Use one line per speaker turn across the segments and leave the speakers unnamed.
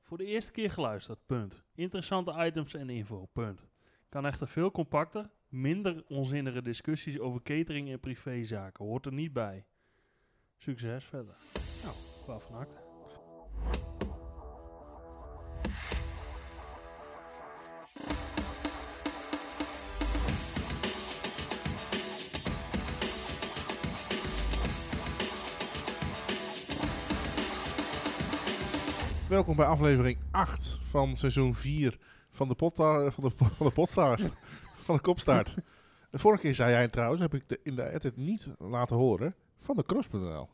Voor de eerste keer geluisterd, punt. Interessante items en info, punt. Kan echter veel compacter, minder onzinnige discussies over catering en privézaken. Hoort er niet bij. Succes verder. Nou, qua van harte.
Welkom bij aflevering 8 van seizoen 4 van de, podta- van de, van de podcast. van de kopstaart. De vorige keer zei jij trouwens, heb ik de, in de edit niet laten horen, van de cross.nl.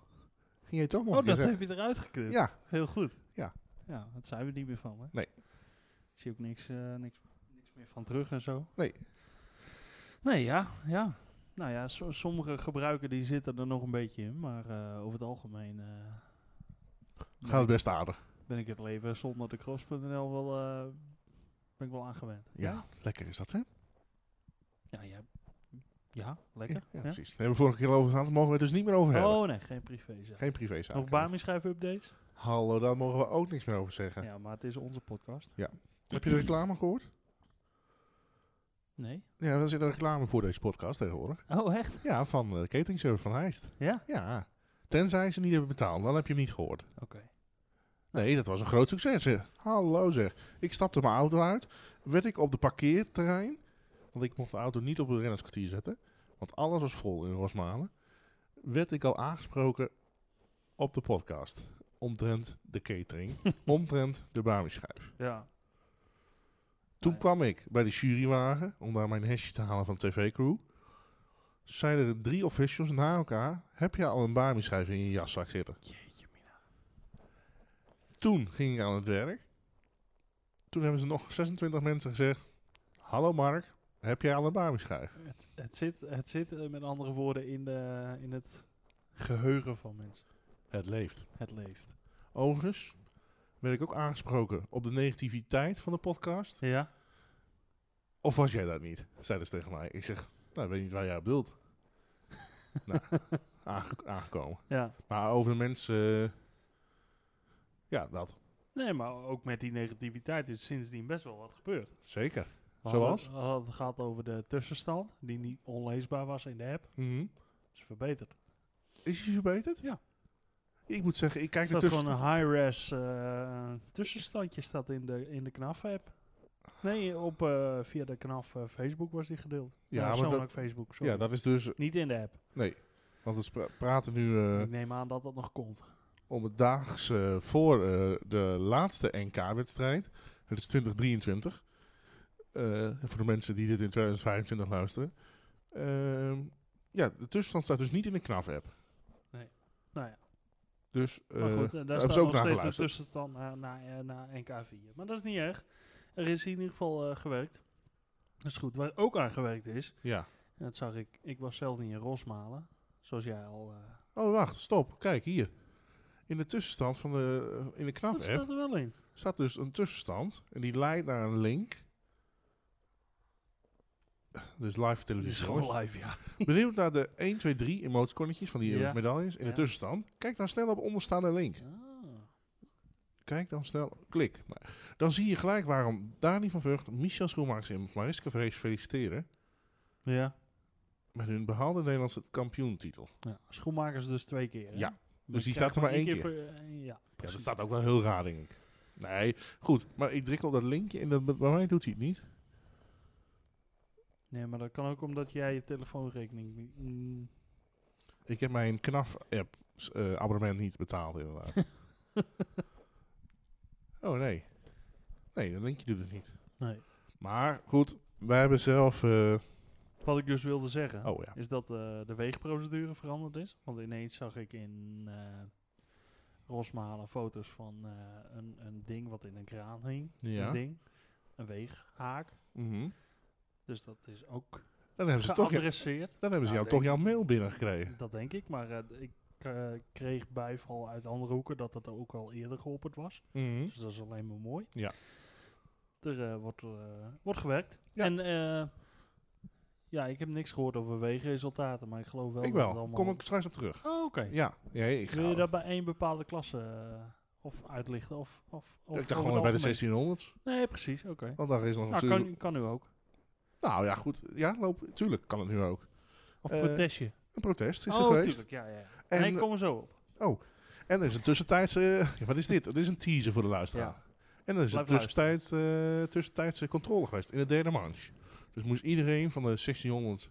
Ging je toch nog
Oh,
een keer
dat
zeggen?
heb je eruit geknipt.
Ja,
Heel goed.
Ja.
Ja, dat zijn we niet meer van, hè?
Nee.
Ik zie ook niks, eh, niks, niks meer van terug en zo.
Nee.
Nee, ja, ja. Nou ja, so- sommige gebruiken die zitten er nog een beetje in, maar eh, over het algemeen eh, ben
gaat het
ik-
best aardig.
ben ik het leven zonder de cross.nl wel, eh, ben ik wel aangewend.
Ja, lekker is dat, hè?
Ja, ja, ja lekker.
Ja,
Ja,
precies. Daar hebben we vorige keer over gehad, daar mogen we het dus niet meer over hebben.
Oh nee, geen privé zeg.
Geen privézaken.
Nog Bami schrijven updates?
Hallo, daar mogen we ook niks meer over zeggen.
Ja, maar het is onze podcast.
Heb je de reclame gehoord?
Nee.
Ja, er zit een reclame voor deze podcast tegenwoordig.
Oh, echt?
Ja, van eh, de cateringservice van Heist.
Ja?
Ja, tenzij ze niet hebben betaald, dan heb je hem niet gehoord.
Oké.
Nee, dat was een groot succes. hè. Hallo zeg. Ik stapte mijn auto uit. Werd ik op de parkeerterrein. Want ik mocht de auto niet op het rennerskwartier zetten. Want alles was vol in Rosmalen. Werd ik al aangesproken op de podcast. Omtrent de catering. omtrent de bamischijf.
Ja.
Toen
Nee.
kwam ik bij de jurywagen. Om daar mijn hesje te halen van TV-crew. Zeiden er drie officials na elkaar. Heb je al een bamischijf in je jaszak zitten?
Jeetje mina.
Toen ging ik aan het werk. Toen hebben ze nog 26 mensen gezegd: Hallo Mark, heb jij al een bamischijf?
Het, het zit, het zit eh, met andere woorden in, de, in het geheugen van mensen.
Het leeft.
Het leeft.
Overigens werd ik ook aangesproken op de negativiteit van de podcast.
Ja?
Of was jij dat niet? Zeiden ze tegen mij. Ik zeg: Nou, ik weet niet waar jij op doelt. nou, aange- aangekomen.
Ja.
Maar over de mensen. eh, ja, dat.
Nee, maar ook met die negativiteit is sindsdien best wel wat gebeurd.
Zeker.
We
Zoals?
hadden- We hadden het gehad over de tussenstand, die niet onleesbaar was in de app.
Mhm.
is verbeterd.
Is je verbeterd?
Ja.
Ik moet zeggen, ik
Er
kijk
staat
ertussen.
gewoon een high-res eh, tussenstandje staat in de, in de KNAF-app. Nee, op, eh, via de KNAF eh, Facebook was die gedeeld.
Ja,
Ja,
maar
persoonlijk
dat-
Facebook, sorry.
ja, dat is dus
Niet in de app.
Nee, want we spra- praten nu eh,
Ik neem aan dat dat nog komt.
om het daags eh, voor eh, de laatste NK-wedstrijd. Het is 2023. Eh, voor de mensen die dit in 2025 luisteren. Ehm, ja, de tussenstand staat dus niet in de KNAF-app.
Nou ja.
Dus eh,
Maar goed, eh, daar
hebben
staat
ze ook
nog
naar
steeds de
geluisterd.
tussenstand naar, naar, eh, naar NK4. Maar dat is niet erg. Er is in ieder geval eh, gewerkt. Dat is goed. Waar ook aan gewerkt is,
ja.
en dat zag ik, ik was zelf niet in Rosmalen, zoals jij al... eh,
Oh, wacht, stop. Kijk, hier. In de tussenstand van de, eh, in de
dat
KNAF-app
staat er wel in.
staat dus een tussenstand. En die leidt naar een link. Dus live
Dat
televisie.
is
jongens.
gewoon live, ja.
Benieuwd naar de 1, 2, 3 emoticonnetjes van die
Ja.
medailles in de
Ja.
tussenstand? Kijk dan snel op onderstaande link.
Ah.
Kijk dan snel, klik. Nou, dan zie je gelijk waarom Dani van Vught, Michel Schoenmakers en Mariska Vrees feliciteren
Ja.
met hun behaalde Nederlandse kampioentitel.
ja. Schoenmakers dus twee keer. hè?
Ja.
Maar
Dus die
ik
staat
krijg
er maar één keer.
voor- eh, ja,
Ja, dat
precies.
staat ook wel heel raar, denk ik. Nee, goed, maar ik druk op dat linkje en dat, bij mij doet hij het niet.
Nee, maar dat kan ook omdat jij je telefoonrekening... niet- Mm.
Ik heb mijn KNAF-app eh, abonnement niet betaald, inderdaad. oh nee. Nee, dat linkje doet het niet.
Nee.
Maar goed, wij hebben zelf. eh,
Wat ik dus wilde zeggen...
oh ja.
is dat eh, de weegprocedure veranderd is. Want ineens zag ik in eh, Rosmalen foto's van eh, een, een ding wat in een kraan hing.
Ja.
Een ding. Een weeghaak.
Mhm.
Dus dat is ook
Dan hebben ze, toch,
geadresseerd.
dan hebben ze jou
Nou,
toch
denk
jouw mail binnengekregen.
Dat denk ik. Maar eh, ik eh, kreeg bijval uit andere hoeken dat dat ook al eerder geopperd was.
Mhm.
Dus dat is alleen maar mooi.
Ja.
Er eh, wordt, eh, wordt gewerkt.
Ja.
En eh, ja, ik heb niks gehoord over weegresultaten. Maar ik geloof wel
Ik
dat het
wel.
allemaal...
Kom ik straks op terug.
Oh, oké.
Ja, nee, ik
Wil je
ga.
dat bij één bepaalde klasse eh, of uitlichten. Of, of, of
Ja, ik dacht
over
gewoon bij de Oh,
het algemeen.
1600.
Nee, precies. Oké.
Want daar is nog
Nou,
natuurlijk...
kan, kan nu ook.
Nou ja, goed. Ja, loop, tuurlijk kan het nu ook.
Of
Eh,
protestje.
Een protest is
oh,
er geweest.
tuurlijk. Ja, ja. ja.
En,
nee, ik kom er zo op.
En er is een tussentijdse... ja, wat is dit? Het is een teaser voor de luisteraar.
Ja.
En er is een
Blijf luisteren.
tussentijds, eh, tussentijdse controle geweest in de derde manche. Dus moest iedereen van de 1600...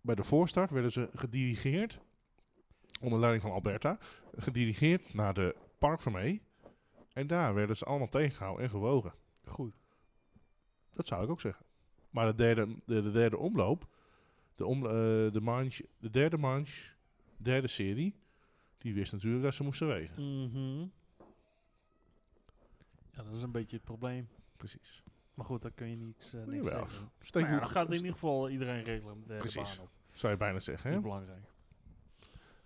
Bij de voorstart werden ze gedirigeerd, onder leiding van Alberta, gedirigeerd naar de Park Vermee. En daar werden ze allemaal tegengehouden en gewogen.
Goed.
Dat zou ik ook zeggen. Maar de derde, de, de derde omloop, de, om, eh, de, manch, de derde manche, derde serie, die wist natuurlijk dat ze moesten wegen.
Mhm. Ja, dat is een beetje het probleem.
Precies.
Maar goed, daar kun je niks, eh niks
Jawel.
tegen doen.
Steek
Nou ja,
hoe-
dan gaat in ieder geval iedereen regelen met de derde
Precies.
baan op.
zou je bijna zeggen.
Dat
Hè?
is belangrijk.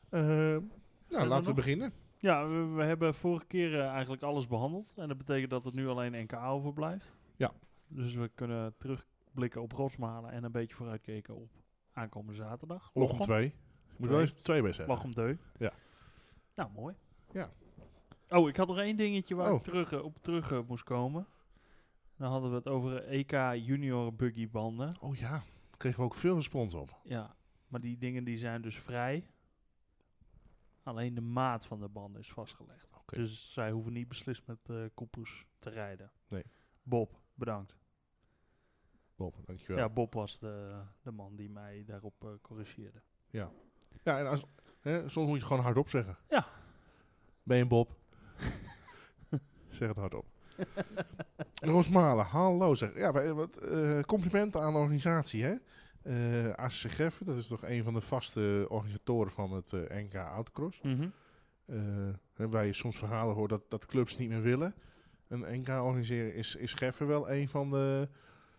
Eh, nou,
we
laten we
nog?
beginnen.
Ja, we, we hebben vorige keer eh, eigenlijk alles behandeld. En dat betekent dat het nu alleen NK overblijft.
Ja.
Dus we kunnen terugblikken op Rosmalen en een beetje vooruitkijken op aankomende zaterdag.
Log om twee. Ik moet er wel
Twee.
even twee bij zeggen.
Lach om deu.
Eh, Ja.
Nou, mooi.
Ja.
Oh, ik had nog één dingetje waar
Oh.
ik terug, eh, op terug eh, moest komen. Dan hadden we het over EK junior buggy banden.
Oh ja, daar kregen we ook veel respons op.
Ja, maar die dingen die zijn dus vrij. Alleen de maat van de banden is vastgelegd.
Oké.
Dus zij hoeven niet beslist met eh koepels te rijden.
Nee.
Bob, bedankt.
Bob, dankjewel.
Ja,
Ja,
Bob was de, de man die mij daarop eh, corrigeerde.
en als, hè, soms moet je het gewoon hardop zeggen.
Ja.
Ben je een Bob? zeg het hardop. Rosmalen, hallo zeg. Ja, wij- wat, eh, complimenten aan de organisatie, hè. Eh ACC Geffen, dat is toch een van de vaste organisatoren van het eh, NK Autocross. eh, hè, waar je soms verhalen hoort dat, dat clubs niet meer willen. Een NK organiseren is, is Geffen wel een van de,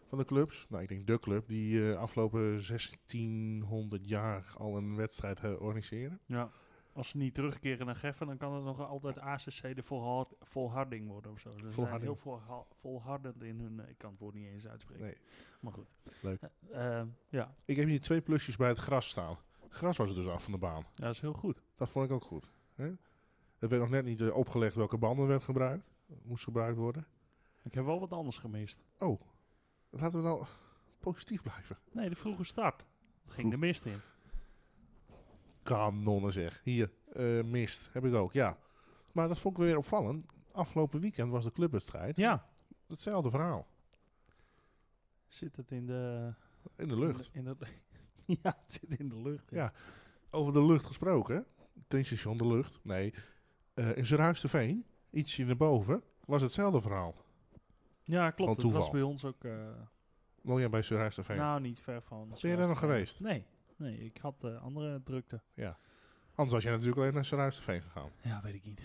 van de clubs. Nou, ik denk de club die eh, afgelopen 1600 jaar al een wedstrijd eh, organiseren.
Ja. Als ze niet terugkeren naar Geffen, dan kan het nog altijd ACC de volhard, volharding worden of zo. Ze zijn
Volharding.
heel volha- volhardend in hun... eh, Ik kan het woord niet eens uitspreken.
Nee.
Maar goed.
Leuk.
Eh, eh, ja.
Ik heb hier twee plusjes bij het gras staan. Gras was er dus af van de baan.
ja, dat is heel goed.
Dat vond ik ook goed. Hè? Het werd nog net niet eh, opgelegd welke banden werd gebruikt. Moest gebruikt worden.
Ik heb wel wat anders gemist.
Oh, laten we nou positief blijven.
Nee, de vroege start. Ging
Vroeg.
de mist in.
Kanonnen zeg. Hier, eh, mist. Heb ik ook, ja. Maar dat vond ik weer opvallend. Afgelopen weekend was de clubwedstrijd.
Ja.
Hetzelfde verhaal.
Zit het in de...
In de lucht.
In de, in de- ja, het zit in de lucht.
Ja. Over de lucht gesproken. hè? Tankstation de lucht. Nee. Eh in Zerhuis-de-Veen, ietsje naar boven, was hetzelfde verhaal.
Ja, klopt.
Van
Het was
toeval.
bij ons ook... eh,
Woon jij bij Zerhuis-de-Veen?
nou, niet ver van.
ben je daar nog geweest?
Nee. Nee, ik had eh, andere drukte.
Anders was jij natuurlijk alleen naar Zerhuis-de-Veen gegaan.
Ja, weet ik niet.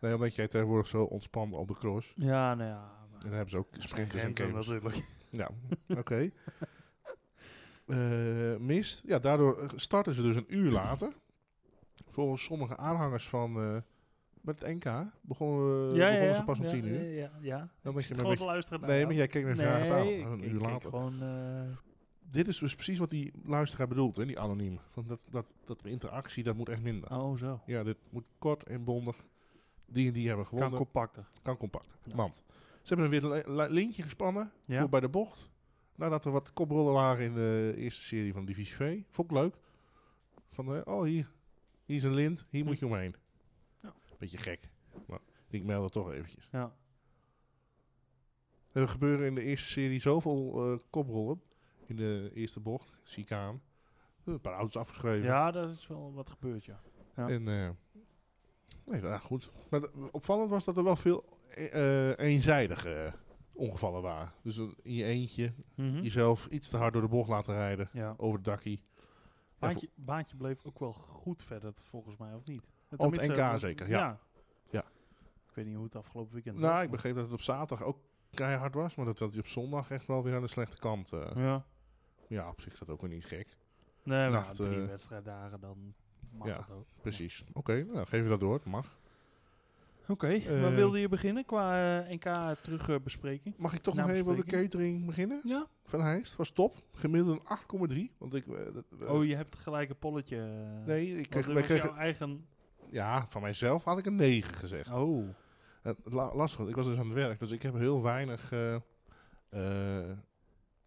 Nee, omdat jij tegenwoordig zo ontspant op de cross.
Ja, nou ja. maar-
En dan hebben ze ook
Er zijn
sprinters en
grenzen
games.
natuurlijk.
Ja, oké. Eh, mist. Ja, daardoor starten ze dus een uur later. Volgens sommige aanhangers van eh, met het NK begonnen, we, Eh, begonnen ze pas om tien uur.
Ja, ja, ja.
Dan ben je
Zit
met
gewoon te
met-
luisteren. nou
nee, maar jij kijkt me vragen
nee,
aan. Een
ik- ik
uur
kijk
later.
Gewoon, eh,
Dit is dus precies wat die luisteraar bedoelt, hè, die anoniem. Van dat, dat, dat interactie, dat moet echt minder.
oh, zo.
Ja, dit moet kort en bondig. Die en die hebben
Kan
gewonnen. Kan,
compacter.
compact.
Ja.
Want ze hebben weer een li- li- lintje gespannen
Ja.
voor bij de bocht. Nadat er wat koprollen waren in de eerste serie van Divisie V. Vond ik leuk. Van, eh, oh hier, hier is een lint, hier moet je omheen.
Ja.
Beetje gek. Maar ik meld het toch eventjes.
Ja.
Er gebeuren in de eerste serie zoveel eh koprollen. In de eerste bocht, zie ik aan. Een paar auto's afgeschreven.
ja, dat is wel wat gebeurd, ja. Ja.
En, eh, nee, nou goed. Maar d- opvallend was dat er wel veel eh, eh, eenzijdige ongevallen waren. Dus een- in je eentje,
Mhm.
jezelf iets te hard door de bocht laten rijden.
Ja.
Over het dakkie.
Baantje, baantje bleef ook wel goed verder, volgens mij, of niet?
Op Oh, het
Tenminste,
NK
eh,
zeker, ja. Ja.
Ik weet niet hoe het afgelopen weekend
Nou, ik begreep dat het op zaterdag ook keihard was. Maar dat, dat hij op zondag echt wel weer aan de slechte kant. eh,
Ja.
ja, op zich is dat ook weer niet gek.
Nee, maar
Nacht,
ja, drie
eh,
wedstrijddagen, dan mag
ja,
het ook.
Precies. Oké, nou geef je dat door. Mag.
Oké,
Eh,
maar wilde je beginnen qua eh, NK terugbespreking?
Mag ik toch
Na
nog even over de
bespreking.
catering beginnen?
ja.
Van Heijst was top. Gemiddeld een 8,3. Want ik... eh, dat- eh,
Oh, je hebt gelijk een polletje. eh,
nee, ik
want
kreeg,
dit
wij
was
kregen
jouw eigen
ja, van mijzelf had ik een 9 gezegd.
Oh,
Het la- lastig, ik was dus aan het werk, dus ik heb heel weinig. eh, eh,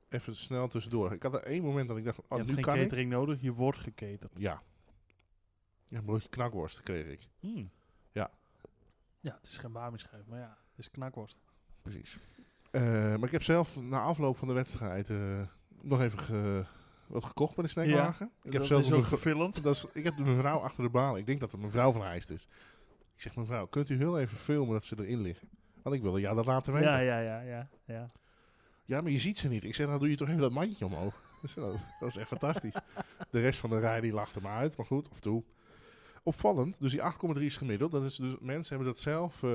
even snel tussendoor. Ik had er één moment dat ik dacht:
je
oh,
hebt
nu
geen
kan ik.
catering nodig, je wordt geketerd.
Ja. ja. Een broodje knakworst kreeg ik.
Hmm.
Ja.
Ja, het is geen bamischijf, maar ja, het is knakworst.
Precies. Eh, maar ik heb zelf na afloop van de wedstrijd eh, nog even ge- wat gekocht met de snackwagen. Ik heb
dat
zelfs
is
een
ook
gro-
vervelend.
Dat is, ik heb de mevrouw achter de bal. Ik denk dat het mevrouw van Heist is. Ik zeg, mevrouw, kunt u heel even filmen dat ze erin liggen? Want ik wilde ja dat laten weten.
Ja,
Ja,
ja, ja, ja, ja.
maar je ziet ze niet. Ik zeg, dan doe je toch even dat mandje omhoog. Dus dat, dat is echt fantastisch. De rest van de rij die lachte me uit, maar goed, of toe. Opvallend, dus die 8,3 is gemiddeld. Dat is dus, mensen hebben dat zelf eh,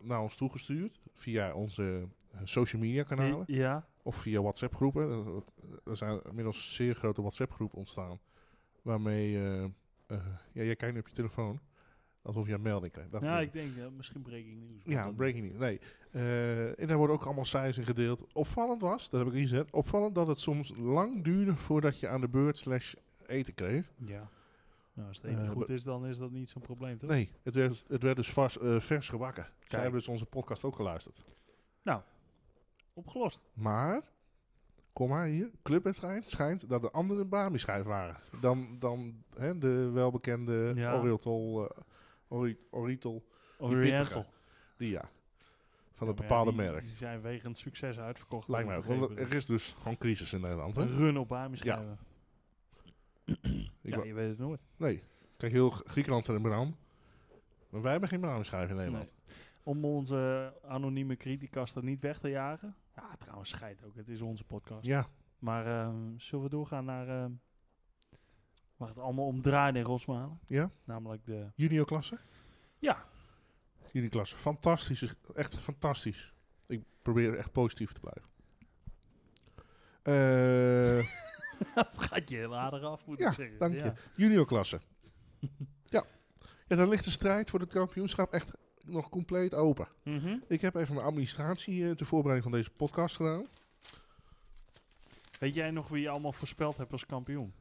naar ons toegestuurd via onze eh, social media kanalen.
Ja,
Of via WhatsApp groepen. Er zijn inmiddels zeer grote WhatsApp groepen ontstaan. Waarmee eh, eh, ja, jij kijkt nu op je telefoon. Alsof je een melding krijgt. Dat
ja
bedoel
ik denk, ja, misschien breaking news.
ik. ja
Dat-
breaking news. Nee. Eh, en daar worden ook allemaal cijfers in gedeeld. Opvallend was, dat heb ik gezet. Opvallend dat het soms lang duurde voordat je aan de beurt slash eten kreeg.
Ja. Nou, als het eten
Eh,
goed
be-
is, dan is dat niet zo'n probleem, toch?
Nee, het werd, het werd dus vast, eh, vers gebakken. Zij
Kijk.
hebben dus onze podcast ook geluisterd.
Opgelost.
Maar, kom maar hier, clubwedstrijd schijnt dat de anderen bami schijf waren. Dan, dan hè, de welbekende
Ja.
Oriental, eh, Ori- Oriental, die pittige.
Oriental.
Die ja, van
Ja,
een
maar ja,
bepaalde
die-
merk.
Die zijn wegens succes uitverkocht.
Lijkt mij ook, want er is dus gewoon crisis in Nederland. Hè?
Een run op Bami
Ja.
schrijven.
Ik
Ja,
wa-
je weet het nooit.
nee, kijk, heel G- Griekenland staat in brand. Maar wij hebben geen bami schijf in Nederland.
Om onze anonieme criticas er niet weg te jagen. Ja, trouwens, schijt ook. Het is onze podcast.
Ja,
Maar ehm, zullen we doorgaan naar... ehm, waar het allemaal om draait in Rosmalen.
Ja.
Namelijk de...
junior klasse?
Ja.
Junior klasse, fantastisch. Echt fantastisch. Ik probeer echt positief te blijven. Eh...
dat gaat je heel aardig af, moet
Ja,
ik zeggen.
dank je. Juniorklasse. ja. ja, dan ligt de strijd voor het kampioenschap echt nog compleet open.
Mhm.
Ik heb even mijn administratie eh, ter voorbereiding van deze podcast gedaan.
Weet jij nog wie je allemaal voorspeld hebt als kampioen?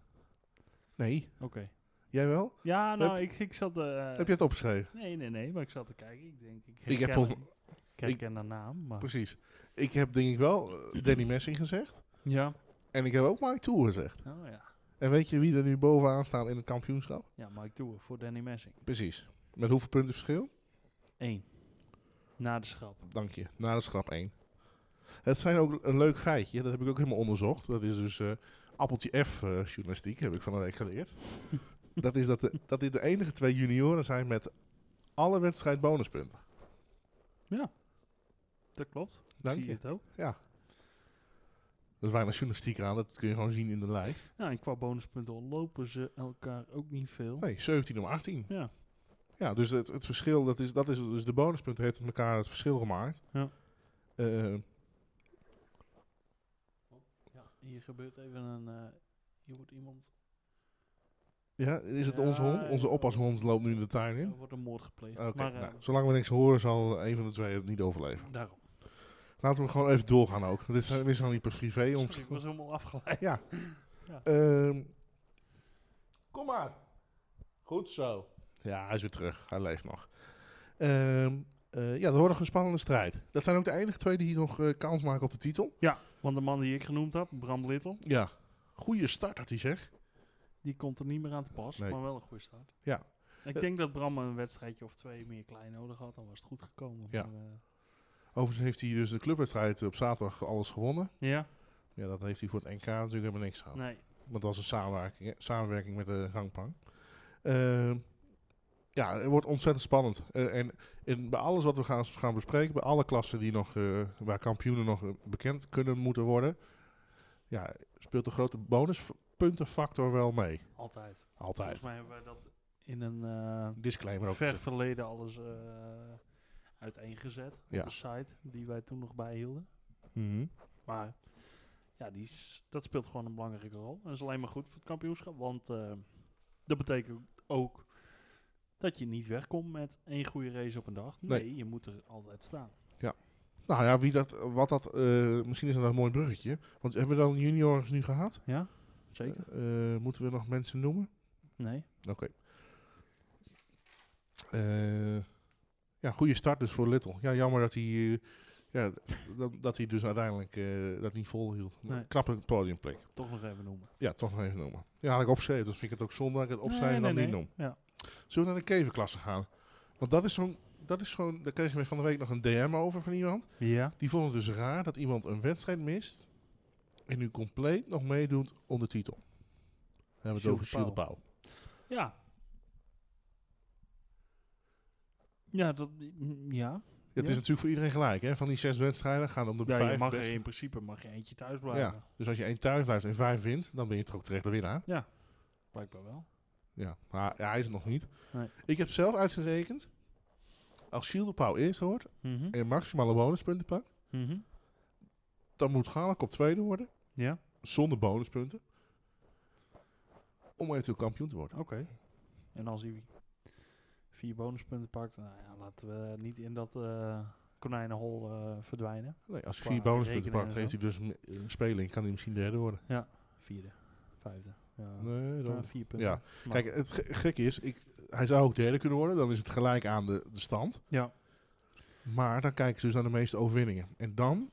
Nee,
Oké.
jij wel?
Ja, nou, ik, ik zat... eh,
heb je het opgeschreven?
Nee, nee, nee, maar ik zat te kijken. Ik denk, ik
heb
herken,
volgens mij-
ik herken de naam, maar...
Precies. Ik heb denk ik wel eh, Danny Messing gezegd.
Ja.
En ik heb ook Mike Tour gezegd.
Oh ja.
En weet je wie er nu bovenaan staat in het kampioenschap?
Ja, Mike Toer voor Danny Messing.
Precies. Met hoeveel punten verschil?
Eén. Na de schrap.
Dank je. Na de schrap 1. Het zijn ook een leuk feitje. Dat heb ik ook helemaal onderzocht. Dat is dus eh, appeltje F eh, journalistiek. Heb ik van de week geleerd. dat is dat, de, dat dit de enige twee junioren zijn met alle wedstrijd bonuspunten.
Dat klopt.
Dank
Zie je
je.
het ook.
Er is weinig journalistiek aan. Dat kun je gewoon zien in de lijst.
Nou, en qua bonuspunten lopen ze elkaar ook niet veel.
Nee, 17 om 18.
Ja.
Ja, dus het, het verschil, dat is, dat is dus de bonuspunten heeft met elkaar het verschil gemaakt.
Ja.
Eh,
Ja, hier gebeurt even een... eh, hier wordt iemand...
ja, is het
Ja,
onze hond? Onze oppashond loopt nu in de tuin
Er
in.
wordt een moord gepleegd.
Oké,
maar eh,
nou, zolang we niks horen zal een van de twee het niet overleven.
daarom.
Laten we gewoon even doorgaan ook. Dit zijn, dit zijn niet per privé. Om...
Sorry, ik was helemaal afgeleid.
Ehm, kom maar. Goed zo. Ja, hij is weer terug. Hij leeft nog. Ehm, eh, ja, dat wordt nog een spannende strijd. Dat zijn ook de enige twee die nog eh, kans maken op de titel.
Want de man die ik genoemd heb, Bram Little,
Ja. Goeie start had hij zeg.
die komt er niet meer aan te pas.
Nee.
Maar wel een goede start.
Ja.
Ik
Eh.
denk dat Bram een wedstrijdje of twee meer klein nodig had. Dan was het goed gekomen.
Ja.
Maar, eh,
Overigens heeft hij dus de clubwedstrijd op zaterdag alles gewonnen.
ja?
Ja, dat heeft hij voor het NK natuurlijk helemaal niks aan.
Nee.
Want dat was een samenwerking, hè, samenwerking met de gangpang. Ehm, ja, het wordt ontzettend spannend. Eh, en, en bij alles wat we gaan, gaan bespreken, bij alle klassen die nog, eh, waar kampioenen nog eh, bekend kunnen moeten worden, ja, speelt de grote bonuspuntenfactor wel mee.
Altijd.
Altijd.
Volgens mij hebben wij dat in een eh,
Disclaimer ook.
ver
gezegd.
verleden alles eh, uiteengezet
Ja.
op de site die wij toen nog bijhielden.
Mhm.
Maar ja, die is, dat speelt gewoon een belangrijke rol. En dat is alleen maar goed voor het kampioenschap, want eh, dat betekent ook dat je niet wegkomt met één goede race op een dag. Nee,
Nee.
je moet er altijd staan.
Nou ja, wie dat, wat dat, eh, misschien is dat een mooi bruggetje. Want hebben we dan juniors nu gehad?
Ja, zeker.
Eh, moeten we nog mensen noemen?
Nee.
Oké. Eh, ja, goede start dus voor Little. Ja, jammer dat hij, eh, ja, dat, dat hij dus uiteindelijk eh, dat niet volhield. Maar
Nee.
Knappe podiumplek.
Toch nog even noemen.
Ja, toch nog even noemen. Ja, had ik opgeschreven. Dus vind ik het ook zonde dat ik het opschrijf en dan
Nee, nee,
niet
nee.
noem.
Ja.
Zullen we naar de kevenklasse gaan? Want dat is zo'n... Dat is gewoon, daar kreeg je me van de week nog een DM over van iemand.
ja.
Die vond het dus raar dat iemand een wedstrijd mist en nu compleet nog meedoet onder titel. Dan hebben we het
Gilles
over
de
Gilles de Pauw.
Ja. Ja, dat, mm, ja.
Het is
Ja.
natuurlijk voor iedereen gelijk. Hè? Van die zes wedstrijden gaan om de
ja je
vijf
mag er
beste.
in principe mag je eentje thuis blijven.
Dus als je één thuis blijft en vijf wint, dan ben je toch ook terecht de winnaar.
Blijkbaar wel.
Ja, maar hij is het nog niet.
Nee.
Ik heb zelf uitgerekend, als Gilles de Pauw eerst wordt
Mhm.
en maximale bonuspunten pakt,
Mhm.
dan moet Galak op tweede worden,
Ja,
zonder bonuspunten, om eventueel kampioen te worden.
oké. En als hij vier bonuspunten pakt, nou ja, laten we niet in dat eh, konijnenhol eh, verdwijnen.
Nee, als hij
Qua
vier bonuspunten
rekeningen
pakt,
en
heeft hij dus m- een speling, kan hij misschien derde worden.
Vierde, vijfde. Ja,
Nee,
nou,
dan...
vier punten.
ja.
Maar-
Kijk, eh, het ge- gekke is, ik, hij zou ook derde kunnen worden, dan is het gelijk aan de, de stand.
ja.
Maar dan kijken ze dus naar de meeste overwinningen. En dan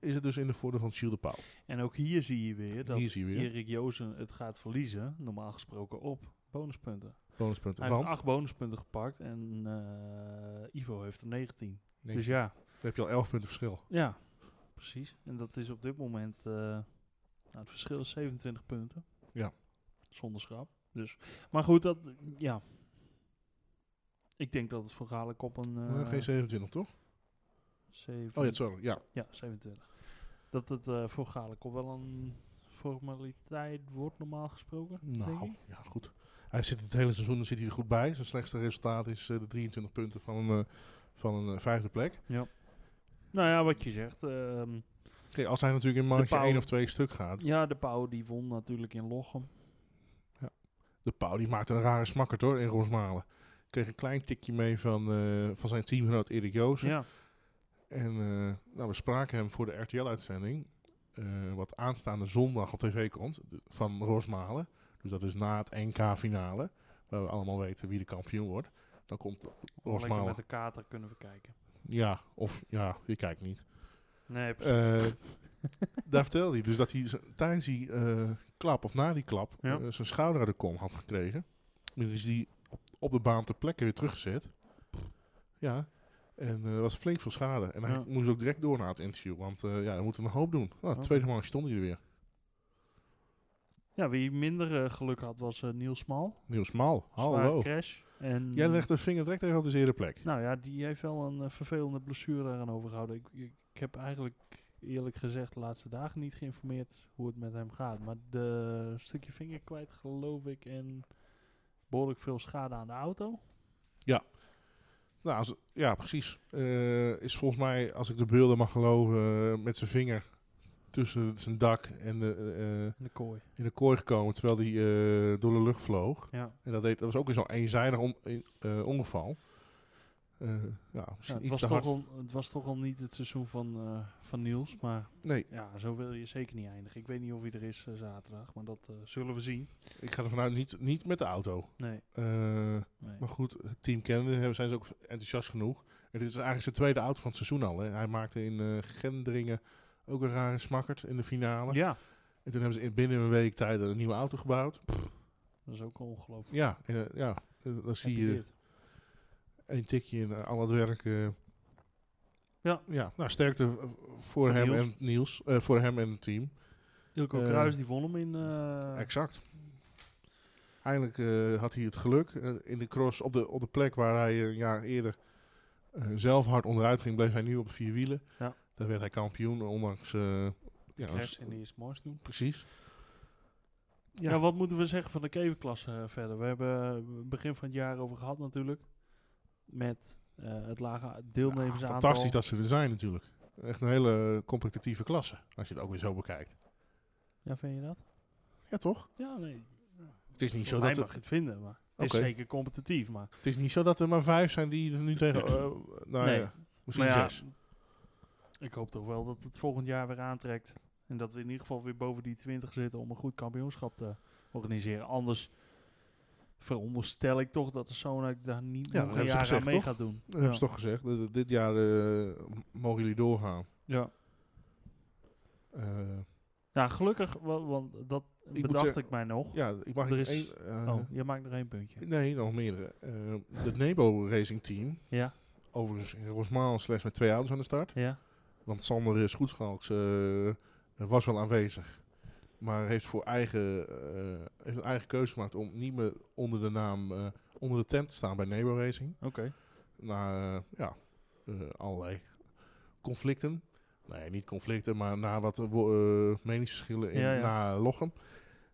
is het dus in de voordeel van Gilles de Pauw.
En ook hier zie je weer dat
Hier zie je weer
Erik Jozen het gaat verliezen, normaal gesproken op bonuspunten. Hij
bonuspunten.
heeft
Want,
acht bonuspunten gepakt en eh, Ivo heeft er 19.
nee,
Dus
dan
ja,
heb je al 11 punten verschil.
ja, precies. En dat is op dit moment, eh, nou, het verschil is 27 punten.
Ja.
Zonder schrap. Dus, maar goed, dat, ja. Ik denk dat het voor Galen op een...
Eh,
eh,
geen 27, toch?
zeven-
Oh ja, sorry. Ja,
ja, 27. Dat het eh, voor Galen op wel een formaliteit wordt normaal gesproken. denk
nou,
ik.
ja, goed. Hij zit het hele seizoen zit hij er goed bij. Zijn slechtste resultaat is eh, de 23 punten van een, eh, van een eh, vijfde plek.
Nou ja, wat je zegt. ehm,
Kijk, als hij natuurlijk in marge
Pauw-
1 of 2 stuk gaat.
ja, de Pauw die won natuurlijk in Lochem.
De Pauw die maakt een rare smakker hoor in Rosmalen. Kreeg een klein tikje mee van, eh, van zijn teamgenoot Erik Joosten.
Ja,
En eh, nou, we spraken hem voor de RTL-uitzending, eh, wat aanstaande zondag op tv komt, de- van Rosmalen. Dus dat is na het NK-finale, waar we allemaal weten wie de kampioen wordt. Dan komt
lekker
Rosmalen.
met de kater kunnen we kijken.
Ja, of ja, je kijkt niet.
Nee, precies.
Eh, daar vertelde hij dus dat hij z- tijdens die eh, klap, of na die klap,
Ja.
eh, zijn schouder uit de kom had gekregen. Maar is die op, op de baan ter plekke weer teruggezet. Ja, en eh, was flink veel schade. En hij
Ja.
moest ook direct door naar het interview, want eh, ja, hij moet een hoop doen. Nou,
Oké.
Tweede maand stond hij er weer.
Ja, wie minder eh, geluk had was eh, Niels Smal.
Niels Maal,
Zware
hallo.
crash. En
Oh,
eh,
Jij legt de vinger direct even op de zere plek.
Nou ja, die heeft wel een eh, vervelende blessure daaraan overgehouden. Ik, ik, ik heb eigenlijk eerlijk gezegd de laatste dagen niet geïnformeerd hoe het met hem gaat. Maar de stukje vinger kwijt geloof ik en behoorlijk veel schade aan de auto.
Nou, als- ja, precies. Eh, is volgens mij, als ik de beelden mag geloven, eh, met zijn vinger tussen zijn dak en de... eh,
En de kooi.
in de kooi gekomen terwijl hij eh, door de lucht vloog.
Ja.
En dat, deed, dat was ook weer zo'n eenzijdig on- in- eh, ongeval. Eh, ja,
Ja,
misschien
het,
iets
was
te
toch
hard.
al, het was toch al niet het seizoen van, eh, van Niels. Maar
Nee,
ja, zo wil je zeker niet eindigen. Ik weet niet of hij er is eh, zaterdag, maar dat eh, zullen we zien.
ik ga er vanuit niet, niet met de auto.
Nee,
Eh,
nee.
maar goed, het team kende hebben zijn ze ook enthousiast genoeg. En dit is eigenlijk zijn tweede auto van het seizoen al. Hè. Hij maakte in eh, Gendringen ook een rare smakkert in de finale.
Ja,
En toen hebben ze in, binnen een week tijd een nieuwe auto gebouwd.
dat is ook ongelooflijk.
Ja, en, eh, ja eh, dan zie
Heb je
je
dit?
een tikje in eh, al het werk. eh.
Ja.
ja. Nou, sterkte eh, voor hem
Niels.
en Niels. eh, voor hem en het team.
Ilko
Eh,
Kruis die won hem in. eh,
Exact. Eindelijk eh, had hij het geluk eh, in de cross op de, op de plek waar hij eh, een jaar eerder eh, zelf hard onderuit ging, bleef hij nu op vier wielen.
Ja.
Daar werd hij kampioen, ondanks. eh, ja,
Kruis
s-
en die is moois doen.
precies. Ja.
Ja. Nou, wat moeten we zeggen van de kevenklasse eh, verder? We hebben het begin van het jaar over gehad natuurlijk. Met eh, het lage deelnemersaantal.
Fantastisch dat ze er zijn, natuurlijk. Echt een hele eh, competitieve klasse, als je het ook weer zo bekijkt.
Ja, vind je dat?
Ja, toch?
Ja, nee.
Het is niet zo
Hij
dat.
mag
er-
het vinden, maar het is
Oké.
zeker competitief. Maar,
Het is niet zo dat er maar vijf zijn die er nu tegen. eh, nou
Nee.
ja, misschien
Maar ja,
zes.
ik hoop toch wel dat het volgend jaar weer aantrekt. En dat we in ieder geval weer boven die 20 zitten om een goed kampioenschap te organiseren. Anders veronderstel ik toch dat de Sonac daar niet
Ja,
nog
dat
een
hebben ze
jaar aan
gezegd,
mee
toch?
gaat doen.
Dat hebben
ja.
ze toch gezegd. dat- dat dit jaar eh, m- mogen jullie doorgaan.
ja.
Eh,
Ja, gelukkig, wa- want dat
moet
bedacht
zeggen-
ik mij nog.
ja, ik mag
Er
ik
is-
één... eh,
oh, je maakt er één puntje.
Nee, nog meerdere. Eh de Nebo Racing Team.
Ja,
Overigens in Rosmalen slechts met twee auto's aan de start.
ja.
Want Sander eh, Schoetschalks eh, was wel aanwezig. Maar heeft voor eigen, eh, heeft een eigen keuze gemaakt om niet meer onder de naam, eh, onder de tent te staan bij Nebo Racing.
Oké.
Na eh, ja, eh, allerlei conflicten. Nee, niet conflicten, maar na wat wo- eh, meningsverschillen in,
Ja, ja.
na Lochem.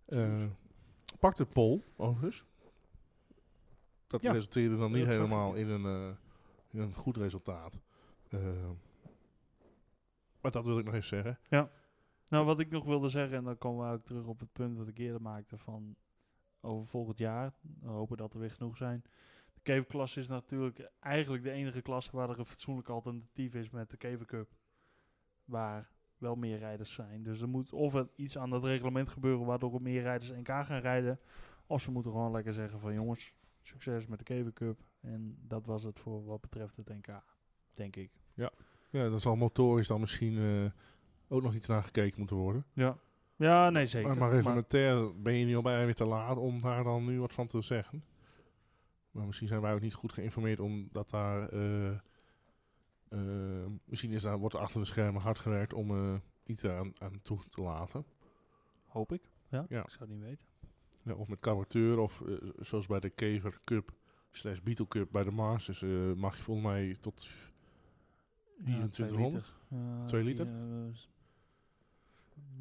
Eh pakte Pol, overigens. Dat
Ja,
resulteerde dan niet
dat zag ik,
helemaal
ja.
in een, eh, in een goed resultaat. Eh, maar dat wil ik nog even zeggen.
Nou, wat ik nog wilde zeggen, en dan komen we ook terug op het punt wat ik eerder maakte van over volgend jaar. We hopen dat er weer genoeg zijn. De Kevenklasse is natuurlijk eigenlijk de enige klasse waar er een fatsoenlijk alternatief is met de Keven Cup. Waar wel meer rijders zijn. Dus er moet of er iets aan dat reglement gebeuren waardoor er meer rijders NK gaan rijden. Of ze moeten gewoon lekker zeggen van jongens, succes met de Keven Cup. En dat was het voor wat betreft het NK, denk ik.
Ja, dat zal motorisch dan misschien eh, ook nog iets naar gekeken moeten worden.
Ja, ja nee zeker.
Maar, maar reglementair ben je nu al bijna weer te laat om daar dan nu wat van te zeggen. Maar misschien zijn wij ook niet goed geïnformeerd omdat daar... eh, eh, misschien is daar, wordt er achter de schermen hard gewerkt om eh, iets aan, aan toe te laten.
Hoop ik. Ja,
Ja.
ik zou het niet weten.
Ja, Nou, of met carburateur of eh, z- zoals bij de Kever Cup slash Beetle Cup bij de Masters eh, mag je volgens mij tot 2400.
Ja,
Twee liter?
vier, eh, s-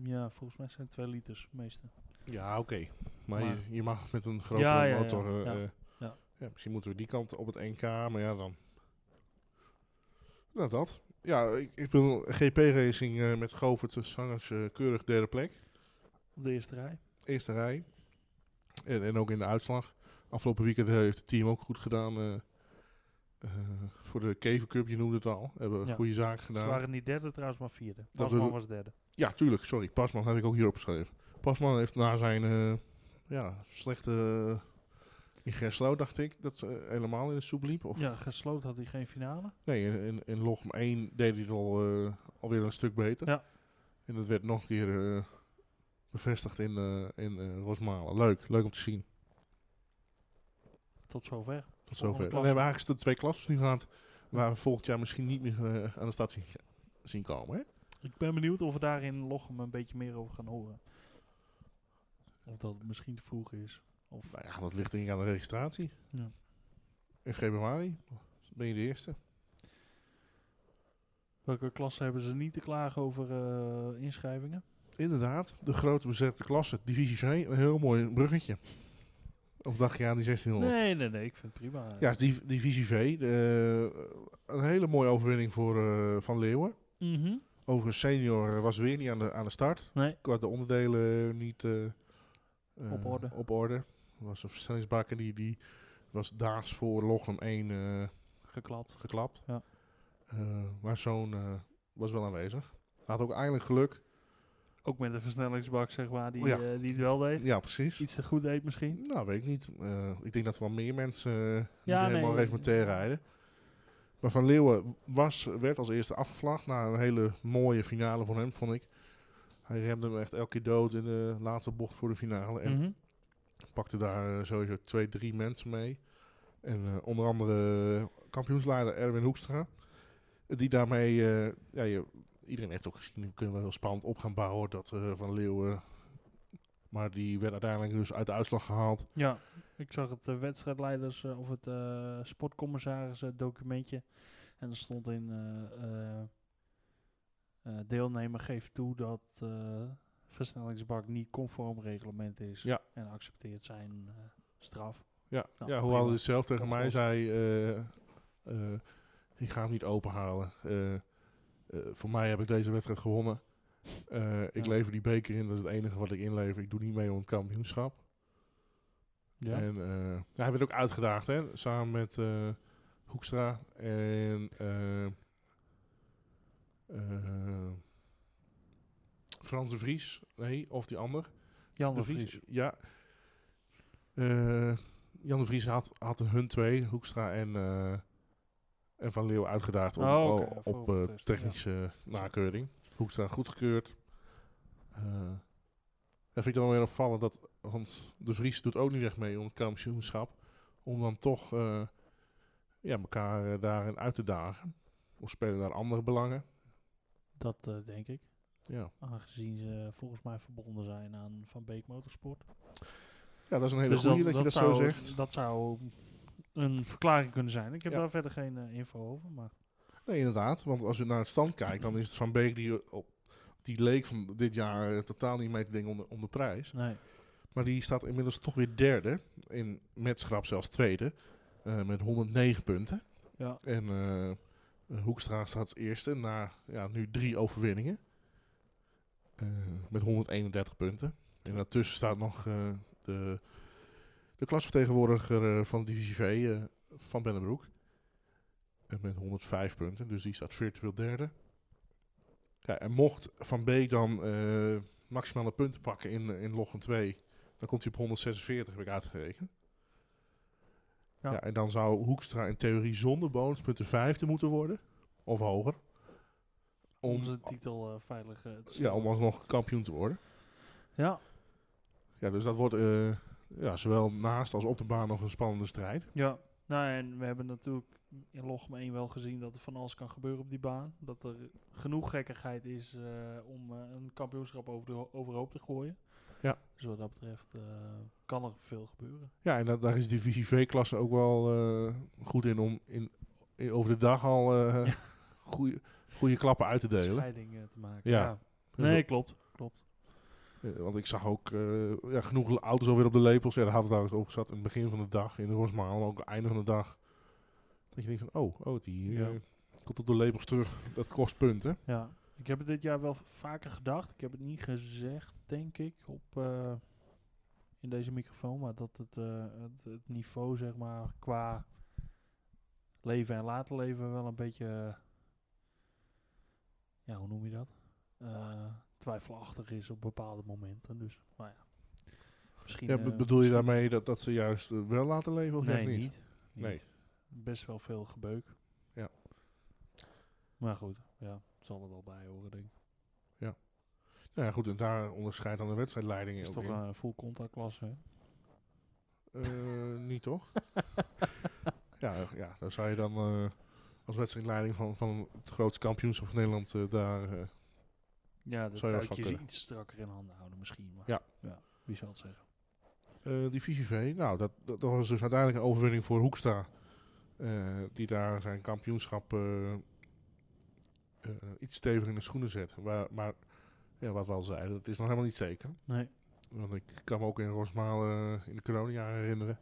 ja, volgens mij zijn het twee liters, meeste.
Ja, oké. Maar,
Maar-
je, je mag met een grotere
Ja, ja, ja,
motor. eh,
ja,
eh,
ja.
ja, misschien moeten we die kant op het NK, maar ja, dan. Nou, dat. Ja, ik, ik wil GP-racing eh, met Govert eh, Sangers eh, keurig derde plek.
Op de eerste rij.
Eerste rij. En, en ook in de uitslag. Afgelopen weekend eh, heeft het team ook goed gedaan. eh, eh, voor de Kever Cup, je noemde het al. Hebben we
Ja.
goede zaak
Ze
gedaan.
waren niet derde trouwens, maar vierde.
Nou. Dat
Pasman
bedoel-
was derde.
Ja, tuurlijk. Sorry, Pasman heb ik ook hier opgeschreven. Pasman heeft na zijn eh, ja, slechte eh, in Gerslo, dacht ik, dat ze eh, helemaal in de soep liep. Of,
Ja, gesloten had hij geen finale.
Nee, in, in, in Lochem 1 deed hij het al, eh, alweer een stuk beter.
Ja.
En dat werd nog een keer eh, bevestigd in, eh, in eh, Rosmalen. Leuk, leuk om te zien.
Tot zover.
Tot zover.
klasse.
Dan hebben we eigenlijk de twee klassen nu gehad, waar we volgend jaar misschien niet meer eh, aan de stad zien, zien komen. Hè?
Ik ben benieuwd of we daar in Lochem een beetje meer over gaan horen. Of dat het misschien te vroeg is. Of
Nou ja, dat ligt denk ik aan de registratie.
Ja.
In februari ben je de eerste.
welke klasse hebben ze niet te klagen over eh, inschrijvingen?
Inderdaad, de grote bezette klasse, divisie V, een heel mooi bruggetje. Of dacht je aan die 1600?
Nee, nee, nee. Ik vind het prima.
Ja, het is div- divisie V. de, eh, een hele mooie overwinning voor eh, Van Leeuwen.
Mhm.
Overigens, senior eh, was weer niet aan de, aan de start.
Nee.
Qua de onderdelen niet eh, eh,
Op orde.
Op orde. Er was een versnellingsbak en die, die was daags voor Lochem 1 eh,
Geklapt.
geklapt.
Ja.
Eh, maar zo'n eh, was wel aanwezig. Had ook eindelijk geluk.
Ook met de versnellingsbak, zeg maar, die,
Oh Ja.
eh, die het wel deed.
Ja, precies.
Iets te goed deed misschien.
Nou, weet ik niet. Eh, ik denk dat wel meer mensen eh,
Ja,
niet helemaal
nee.
reglementair rijden. Maar Van Leeuwen was, werd als eerste afgevlaagd na een hele mooie finale van hem, vond ik. Hij remde hem echt elke keer dood in de laatste bocht voor de finale. En
Mhm.
pakte daar eh, sowieso twee, drie mensen mee. En eh, onder andere eh, kampioensleider Erwin Hoekstra. Die daarmee, eh, ja, je, iedereen heeft ook gezien, we kunnen wel heel spannend op gaan bouwen dat eh, Van Leeuwen. Maar die werd uiteindelijk dus uit de uitslag gehaald.
Ja, ik zag het eh, wedstrijdleiders eh, of het eh sportcommissaris eh, documentje. En er stond in eh, eh, eh, deelnemer geeft toe dat eh, versnellingsbak niet conform reglement is.
Ja.
En accepteert zijn eh, straf.
Ja,
Nou,
ja
prima.
hoewel hij het zelf tegen
Dat
mij
klopt.
zei, eh, eh, ik ga hem niet openhalen. Eh, eh, voor mij heb ik deze wedstrijd gewonnen. Eh, ik
Ja.
lever die beker in, dat is het enige wat ik inlever. Ik doe niet mee om het kampioenschap. En eh, ja, hij werd ook uitgedaagd, hè, samen met eh, Hoekstra en eh, eh, Frans de Vries. Nee, of die ander.
Jan
De
de Vries.
Ja. Eh, Jan de Vries had, had hun twee, Hoekstra en, eh, en Van Leeuw, uitgedaagd om-
Oh,
o-
oké, voor
op eh,
protest, ja.
technische nakeuring. Hoekstra goedgekeurd. Eh en vind ik dan weer opvallend dat, want de Vries doet ook niet echt mee om het kampioenschap, om dan toch eh, ja, elkaar eh, daarin uit te dagen. Of spelen daar andere belangen.
Dat eh, denk ik.
Ja.
Aangezien ze volgens mij verbonden zijn aan Van Beek Motorsport.
ja, dat is een hele goede dat, je dat zo
zou,
zegt.
Dus Dat zou een verklaring kunnen zijn. Ik heb
Ja.
daar verder geen eh, info over. Maar
Nee, inderdaad. Want als je naar het stand kijkt, dan is het Van Beek die op die leek van dit jaar eh, totaal niet mee te dingen om de, om de prijs.
nee.
Maar die staat inmiddels toch weer derde. In, met schrap zelfs tweede. eh, met 109 punten.
Ja.
En eh, Hoekstra staat als eerste na ja, nu drie overwinningen. Eh, met 131 punten. En daartussen staat nog eh, de, de klasvertegenwoordiger eh, van divisie V, eh, Van Bennebroek. Eh, met 105 punten, dus die staat virtueel derde. Ja, en mocht Van Beek dan eh, maximale punten pakken in, in Lochem 2, dan komt hij op 146, heb ik uitgerekend.
Ja.
Ja. en dan zou Hoekstra in theorie zonder bonuspunten vijfde moeten worden. Of hoger.
Om,
Om,
de titel eh, veilig eh, te
ja,
stellen.
om alsnog kampioen te worden.
ja,
Ja, dus dat wordt eh, ja, zowel naast als op de baan nog een spannende strijd.
Ja, nou en we hebben natuurlijk in Lochem 1 wel gezien dat er van alles kan gebeuren op die baan. Dat er genoeg gekkigheid is eh, om eh, een kampioenschap over de ho- overhoop te gooien.
Ja.
Dus wat dat betreft eh, kan er veel gebeuren.
Ja, en dat, daar is de divisie V-klasse ook wel eh, goed in om in, in- over de dag al eh goede, goede klappen uit te delen.
Scheiding eh, te maken.
Ja. Dus
Ja. Nee, klopt. Klopt.
Eh, want ik zag ook eh, ja, genoeg auto's alweer op de lepels. Ja, daar hadden we het trouwens over zat in het begin van de dag in de Rosmaal, maar ook het einde van de dag. Dat je denkt van, oh, oh die eh,
Ja.
komt op de lepels terug. Dat kost punten.
Ja. Ik heb het dit jaar wel vaker gedacht. Ik heb het niet gezegd, denk ik, op, eh, in deze microfoon. Maar dat het, eh, het, het niveau, zeg maar, qua leven en laten leven wel een beetje... eh, ja, hoe noem je dat? Eh, twijfelachtig is op bepaalde momenten. Dus, maar ja. Misschien...
Ja,
eh,
be- bedoel je
misschien-
daarmee dat, dat ze juist eh, wel laten leven of
Nee,
net
niet.
niet?
Niet.
Nee.
Best wel veel gebeuk.
Ja.
Maar goed, ja, het zal er wel bij horen, denk ik.
Nou ja, goed, en daar onderscheidt dan de wedstrijdleiding
Het is
ook
toch
in.
een full contact klasse, hè?
Eh, niet toch? ja, ja, daar zou je dan eh, als wedstrijdleiding van, van het grootste kampioenschap van Nederland eh, daar... eh,
Ja, dat
Zou je
zou
wat van
je ze
kunnen.
iets strakker in handen houden misschien. Maar
Ja.
wie zal het zeggen?
Eh, divisie V, nou, dat, dat, dat was dus uiteindelijk een overwinning voor Hoekstra. eh, die daar zijn kampioenschap eh, eh, iets steviger in de schoenen zet. Waar, maar ja, wat we al zeiden, dat is nog helemaal niet zeker.
Nee.
Want ik kan me ook in Rosmalen eh, in de coronajaren herinneren.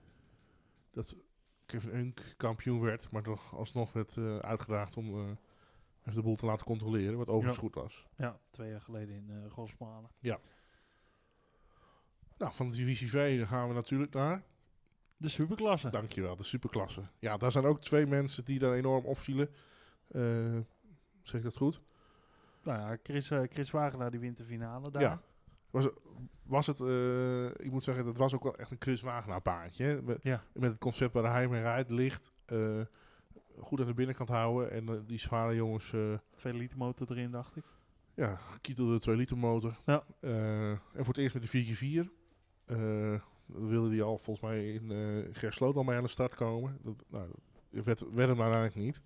Dat Kevin Unk kampioen werd, maar toch alsnog werd eh, uitgedaagd om eh, even de boel te laten controleren. Wat overigens
Ja.
goed was.
Ja, twee jaar geleden in eh Rosmalen.
Nou, van de divisie V dan gaan we natuurlijk naar
De superklasse.
Dankjewel, de superklasse. Ja, daar zijn ook twee mensen die daar enorm opvielen. Eh, zeg ik dat goed?
Nou ja, Chris, eh, Chris Wagenaar die wint de finale daar.
Ja. Was, het- was het, eh, ik moet zeggen, dat was ook wel echt een Chris Wagenaar baantje. hè? Met,
Ja.
met het concept waar hij mee rijdt, licht, eh, goed aan de binnenkant houden. En eh, die zware jongens, eh
Twee liter motor erin, dacht ik.
ja, kietelde de 2 liter motor.
Ja.
Eh, en voor het eerst met de 4x4. Eh, dan wilde die al volgens mij in eh Gersloot al mee aan de start komen. Dat, nou, dat werd, werd hem uiteindelijk niet.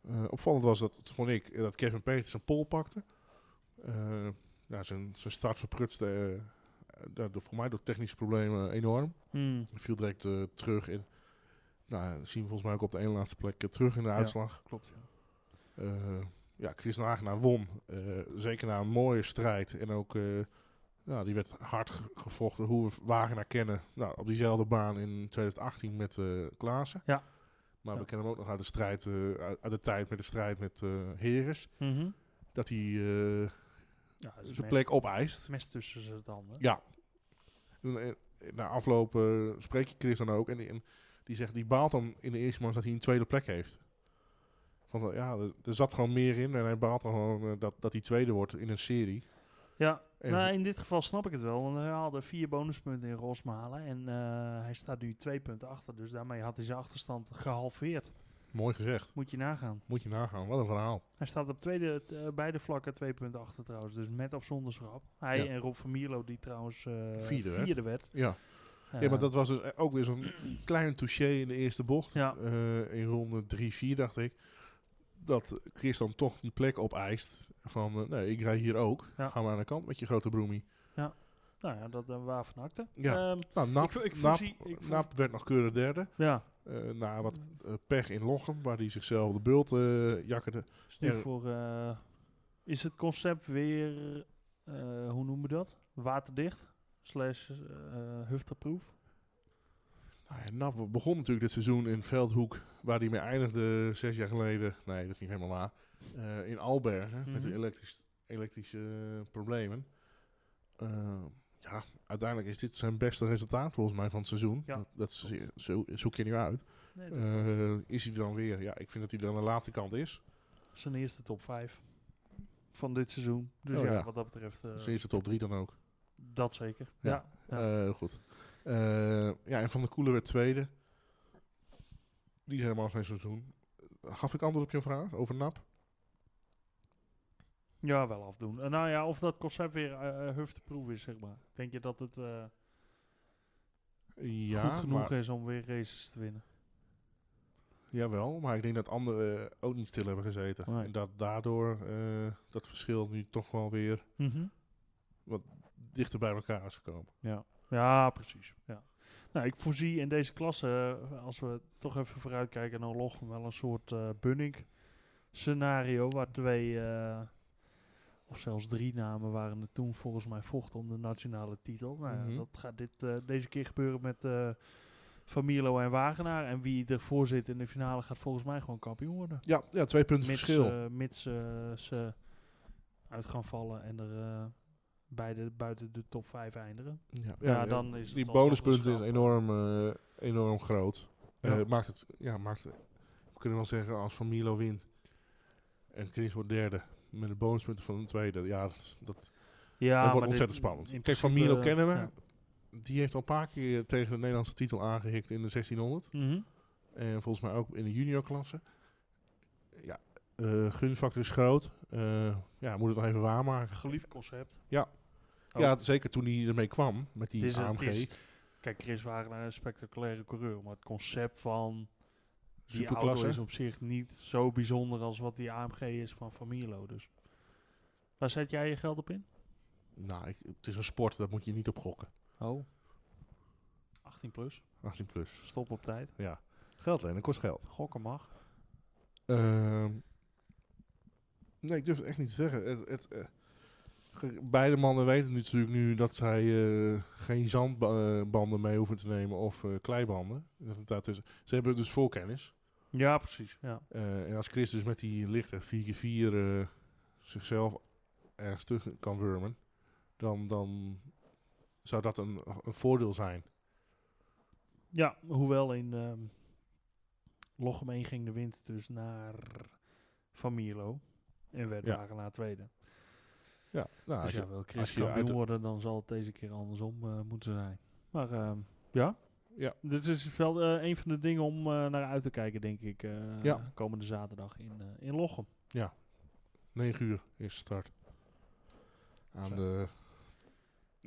Eh, opvallend was dat, vond ik, eh, dat Kevin Peters een pol pakte. Eh, ja, zijn, zijn start verprutste eh, daardoor, voor mij door technische problemen enorm.
Hmm.
Hij viel direct eh, terug in. Nou, dat zien we volgens mij ook op de ene laatste plek eh, terug in de uitslag.
Klopt, ja.
Eh, ja, Chris Nagenaar won. Eh, zeker na een mooie strijd. En ook, eh, nou, die werd hard ge- gevochten hoe we Wagenaar kennen. Nou, op diezelfde baan in 2018 met eh Klaassen.
Ja.
Maar
Ja.
we kennen hem ook nog uit de, strijd, eh, uit, uit de tijd met de strijd met eh Heres.
Mhm.
Dat hij eh,
ja het is
zijn
mes,
plek opeist.
mes tussen ze tanden.
Ja. En, eh, Na afloop eh, spreek je Chris dan ook. En die, en die zegt, die baalt dan in de eerste plaats dat hij een tweede plek heeft. Van, eh, ja, er, er zat gewoon meer in. En hij baalt dan gewoon eh, dat, dat hij tweede wordt in een serie.
Ja. Ja,
En-
nou, in dit geval snap ik het wel. Want hij haalde vier bonuspunten in Rosmalen. En eh, hij staat nu twee punten achter. Dus daarmee had hij zijn achterstand gehalveerd.
Mooi gezegd.
Moet je nagaan.
Moet je nagaan. Wat een verhaal.
Hij staat op tweede, t- eh, beide vlakken twee punten achter trouwens. Dus met of zonder schrap. Hij
Ja.
en Rob van Mierlo die trouwens eh,
Vierde werd.
werd.
Ja. Ja, maar dat was dus eh, ook weer zo'n klein touché in de eerste bocht.
Ja.
Eh, in ronde 3-4 dacht ik. Dat Chris dan toch die plek opeist. Van, eh, nee, ik rij hier ook.
Ja.
Ga maar aan de kant met je grote broemie.
Nou ja, dat eh, waar van akte.
Ja.
Ehm,
Nou, Nap,
ik, vo- ik
Nap,
voorzie... Ik voor-
Nap werd nog keurig derde.
ja,
Eh, na wat eh, pech in Lochem, waar hij zichzelf de bult eh jakkerde.
is nu
Ja.
voor... eh, is het concept weer... eh, hoe noemen we dat? Waterdicht? Slash eh hufterproof?
Nou ja, Nap begon natuurlijk dit seizoen in Veldhoek, waar hij mee eindigde zes jaar geleden. Nee, dat is niet helemaal waar. Eh, in Albergen, met de
Mhm.
elektrisch, elektrische eh, problemen. Eh, ja, uiteindelijk is dit zijn beste resultaat volgens mij van het seizoen.
Ja.
Dat, dat is- zo, zoek je nu uit.
Nee, dat-
Eh, is hij er dan weer? Ja, ik vind dat hij er aan de late kant is.
Zijn eerste top 5 van dit seizoen. Dus
Oh,
ja,
ja.
wat dat betreft, eh,
Ze is de top drie dan ook.
dat zeker.
Ja.
Ja.
Eh, heel goed. Eh, ja, en Van der Koelen werd tweede. Niet helemaal zijn seizoen. Gaf ik antwoord op je vraag over Nap?
Ja, wel afdoen. Eh, nou ja, of dat concept weer eh eh, hufteproof is, zeg maar. Denk je dat het eh,
Ja,
goed genoeg
maar,
is om weer races te winnen?
jawel, maar ik denk dat anderen eh, ook niet stil hebben gezeten.
Nee.
En dat daardoor eh, dat verschil nu toch wel weer dichter bij elkaar is gekomen.
Ja. ja, precies. Ja. Nou, ik voorzie in deze klasse, eh, als we toch even vooruitkijken naar Lochem, wel een soort eh Bunning scenario waar twee eh, of zelfs drie namen waren er toen volgens mij vocht om de nationale titel. Nou ja,
Mhm.
dat gaat dit, eh, deze keer gebeuren met eh Van Mierlo en Wagenaar. En wie ervoor zit in de finale gaat volgens mij gewoon kampioen worden.
Ja, ja twee punten
mits,
verschil.
eh, mits eh, ze uit gaan vallen en er eh, beide buiten de top 5 eindigen.
ja,
Ja,
ja,
dan is
die
het alsnog
bonuspunten
een
is
schap.
enorm, eh, enorm groot. Eh,
Ja.
maakt het, ja, maakt het, we kunnen wel zeggen als Van Milo wint en Chris wordt derde met de bonuspunten van een tweede. Ja, dat,
Ja,
dat
maar
wordt ontzettend
dit-
spannend.
in
Kijk, Van
principe,
Milo kennen we.
ja.
Die heeft al een paar keer tegen de Nederlandse titel aangehikt in de 1600.
Mhm.
En volgens mij ook in de juniorklasse. Ja, eh gunfactor is groot. Eh, ja, moet het nog even waarmaken.
Geliefd concept. Oh.
Ja, zeker toen hij ermee kwam met die
Het is- het
AMG.
is- Kijk, Chris Wagenaar is een spectaculaire coureur, maar het concept van die auto is
Superklasse.
op zich niet zo bijzonder als wat die AMG is van Familo. Dus waar zet jij je geld op in?
Nou, ik, het is een sport, daar moet je niet op gokken.
Oh. 18 plus.
18 plus.
Stop op tijd.
Ja. Geld lenen kost geld.
Gokken mag.
Ehm, nee, ik durf het echt niet te zeggen. Het, het, eh, kijk, beide mannen weten natuurlijk nu dat zij eh, geen zandbanden mee hoeven te nemen of eh, kleibanden. Dat het daartussen- Ze hebben dus voorkennis.
Ja, precies. Ja.
Eh, en als Chris dus met die lichte 4x4 eh, zichzelf ergens terug kan wurmen, dan, dan zou dat een, een voordeel zijn.
ja, hoewel in ehm Lochem 1 ging de wind dus naar Van Mierlo. En werd
Ja.
Wagenaar tweede.
Ja, nou, als
Dus
je-
ja, wil
als
Chris
je uit de-
kampioen worden, dan zal het deze keer andersom eh, moeten zijn. Maar ehm, ja.
Ja.
Dit is wel eh, een van de dingen om eh, naar uit te kijken, denk ik. eh,
Ja.
Komende zaterdag in, eh, in Lochem.
9 uur is start. Aan
Zo.
de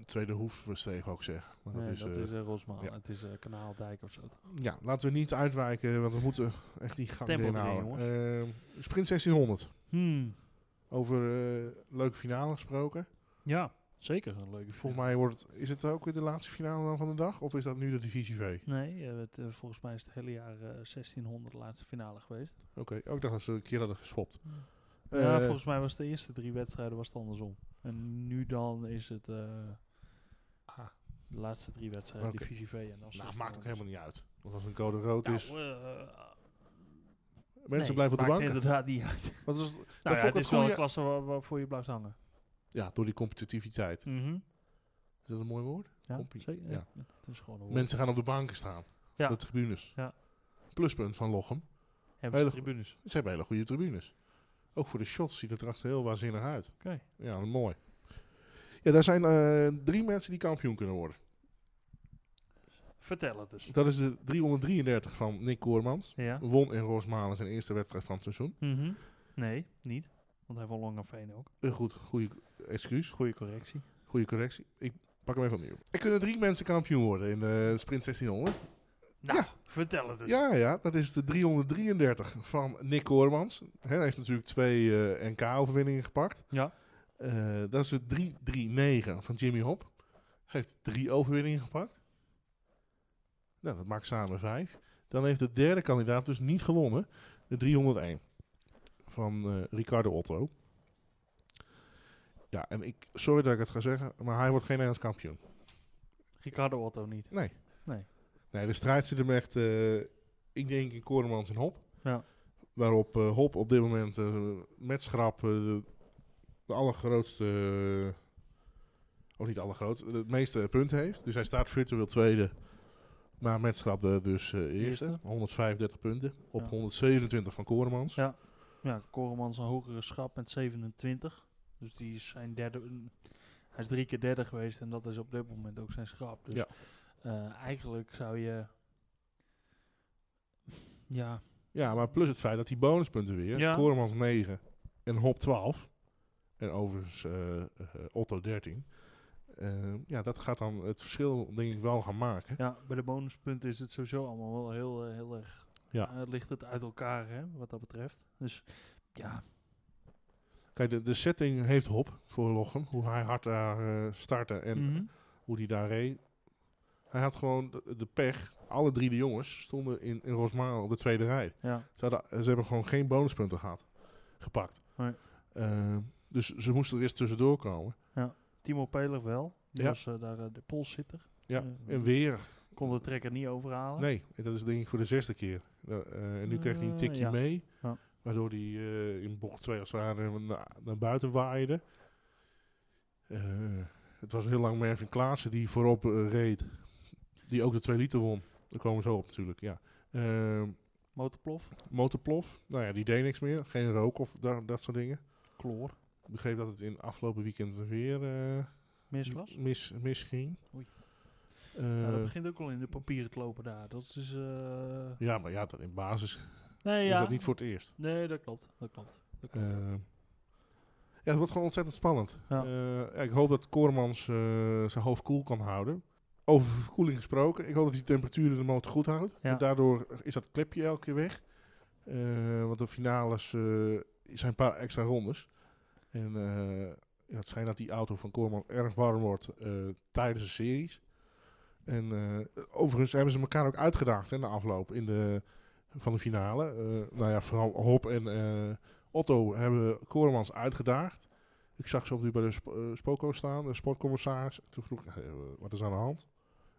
tweede hoefsteeg ook zeggen. Maar dat
Nee,
is, eh,
eh, Rosmalen.
ja.
Het is eh, Kanaaldijk of zo. toch?
ja, laten we niet uitwijken, want we moeten echt die gang
Tempo
erin
erin,
houden. Eh, sprint 1600.
Hmm.
Over eh, leuke finale gesproken.
Ja, zeker een leuke film.
Volgens mij wordt het, is het ook weer de laatste finale dan van de dag? Of is dat nu de divisie V?
Nee, eh, het, eh, volgens mij is het hele jaar eh, 1600 de laatste finale geweest.
Oké, ook dacht dat ze een keer hadden geswapt.
ja,
Eh,
volgens mij was de eerste drie wedstrijden was het andersom. En nu dan is het eh,
Ah.
de laatste drie wedstrijden,
Oké.
divisie V. En dan
nou,
1600.
maakt ook helemaal niet uit. Want als een code rood
Nou,
is,
eh,
mensen
nee,
blijven op de
maakt
bank.
inderdaad niet uit.
Want dat is- dat
Nou ja,
vond
het
ik het
is wel een
goede...
klasse waar, waarvoor je blijft hangen.
Ja, door die competitiviteit. Is dat een mooi woord?
Ja,
Kompie.
zeker.
Mhm. Ja.
Het is gewoon een woord.
Mensen gaan op de banken staan.
Ja.
Op de tribunes.
Ja.
Pluspunt van Lochem.
Hebben ze
hele
tribunes.
Ze hebben hele goede tribunes. Ook voor de shots ziet het er echt heel waanzinnig uit.
Oké.
Ja, mooi. Ja, daar zijn eh, drie mensen die kampioen kunnen worden.
Vertel het eens.
Dat is de 333 van Nick Koormans.
Ja.
Won in Rosmalen zijn eerste wedstrijd van het seizoen.
Mhm. Nee, niet. Want hij won Langerveen ook.
Een goed, goede excuus,
Goede correctie.
goede correctie. Ik pak hem even opnieuw. Er kunnen drie mensen kampioen worden in eh, de sprint 1600.
Nou,
Ja.
vertel het eens.
Ja, ja, dat is de 333 van Nick Koormans. Hè, Hij heeft natuurlijk twee eh, NK-overwinningen gepakt.
Ja.
Eh, dat is de 339 van Jimmy Hop. Hij heeft drie overwinningen gepakt. Nou, dat maakt samen vijf. Dan heeft de derde kandidaat dus niet gewonnen. De 301 van eh, Ricardo Otto. Ja, en ik, sorry dat ik het ga zeggen, maar hij wordt geen Nederlands kampioen.
Ricardo Otto niet.
Nee, de strijd zit hem echt, eh, ik denk in Koremans en Hop.
Ja.
Waarop eh, Hop op dit moment eh, met schrap eh, de, de allergrootste, eh, of niet de allergrootste, het meeste punten heeft. Dus hij staat virtueel tweede, maar met schrap de, dus eh, eerste.
Eerste.
135 punten op
Ja.
127 van Koremans.
Ja. Ja, Koremans een hogere schap met 27. Dus die is zijn derde. Hij is drie keer derde geweest en dat is op dit moment ook zijn schap. Dus
Ja.
eh, eigenlijk zou je. Ja,
Ja, maar plus het feit dat die bonuspunten weer,
Ja.
Koremans 9 en Hop 12, en overigens eh, eh, Otto 13, eh, ja, dat gaat dan het verschil denk ik wel gaan maken.
ja, bij de bonuspunten is het sowieso allemaal wel heel, eh, heel erg.
Ja.
eh, ligt het uit elkaar, hè, wat dat betreft. Dus ja,
Kijk, de, de setting heeft Hop voor Lochem, hoe hij hard daar eh, startte en
mhm.
hoe hij daar reed. Hij had gewoon de, de pech, alle drie de jongens stonden in, in Rosmalen op de tweede rij.
ja.
Ze, hadden- ze hebben gewoon geen bonuspunten gehad, gepakt.
Nee.
Eh, dus ze moesten er eerst tussendoor komen.
Timo Peler wel. Die
Ja.
was eh, daar eh, de polszitter.
Ja,
Eh,
En weer
kon de trekker niet overhalen.
Nee, dat is denk ik voor de zesde keer. Ja, eh, en nu kreeg hij een
Eh,
tikje
ja.
mee.
Ja.
Waardoor hij eh, in bocht 2 als het ware na- naar buiten waaide. Eh, het was heel lang Mervin Klaassen die voorop eh, reed. Die ook de 2 liter won. Daar komen we zo op natuurlijk, ja. Eh,
Motorplof,
motorplof. Nou ja, die deed niks meer. Geen rook of da- dat soort dingen.
kloor,
Ik begreep dat het in afgelopen weekend weer eh,
mis was.
mis, misging.
Oei.
Eh,
Ja, Nou, dat begint ook al in de papieren te lopen daar. Dat is. eh,
ja, maar ja, dat in basis
nee,
is
ja.
dat niet voor het eerst.
nee, dat klopt. Dat klopt. Dat klopt.
Eh, ja, het wordt gewoon ontzettend spannend.
Ja.
Eh, ja, ik hoop dat Koremans eh, zijn hoofd koel kan houden. Over verkoeling gesproken. Ik hoop dat hij de temperatuur in de motor goed houdt.
Ja.
Want daardoor is dat klepje elke keer weg. Eh, want de finales eh, zijn een paar extra rondes. En eh, ja, het schijnt dat die auto van Koremans erg warm wordt eh, tijdens de series. En eh, overigens hebben ze elkaar ook uitgedaagd hè, na afloop in de, van de finale. Eh, nou ja, vooral Hop en eh, Otto hebben Koremans uitgedaagd. Ik zag ze op nu bij de sp- eh, Spoco staan, de sportcommissaris. Toen vroeg ik, eh, wat is aan de hand?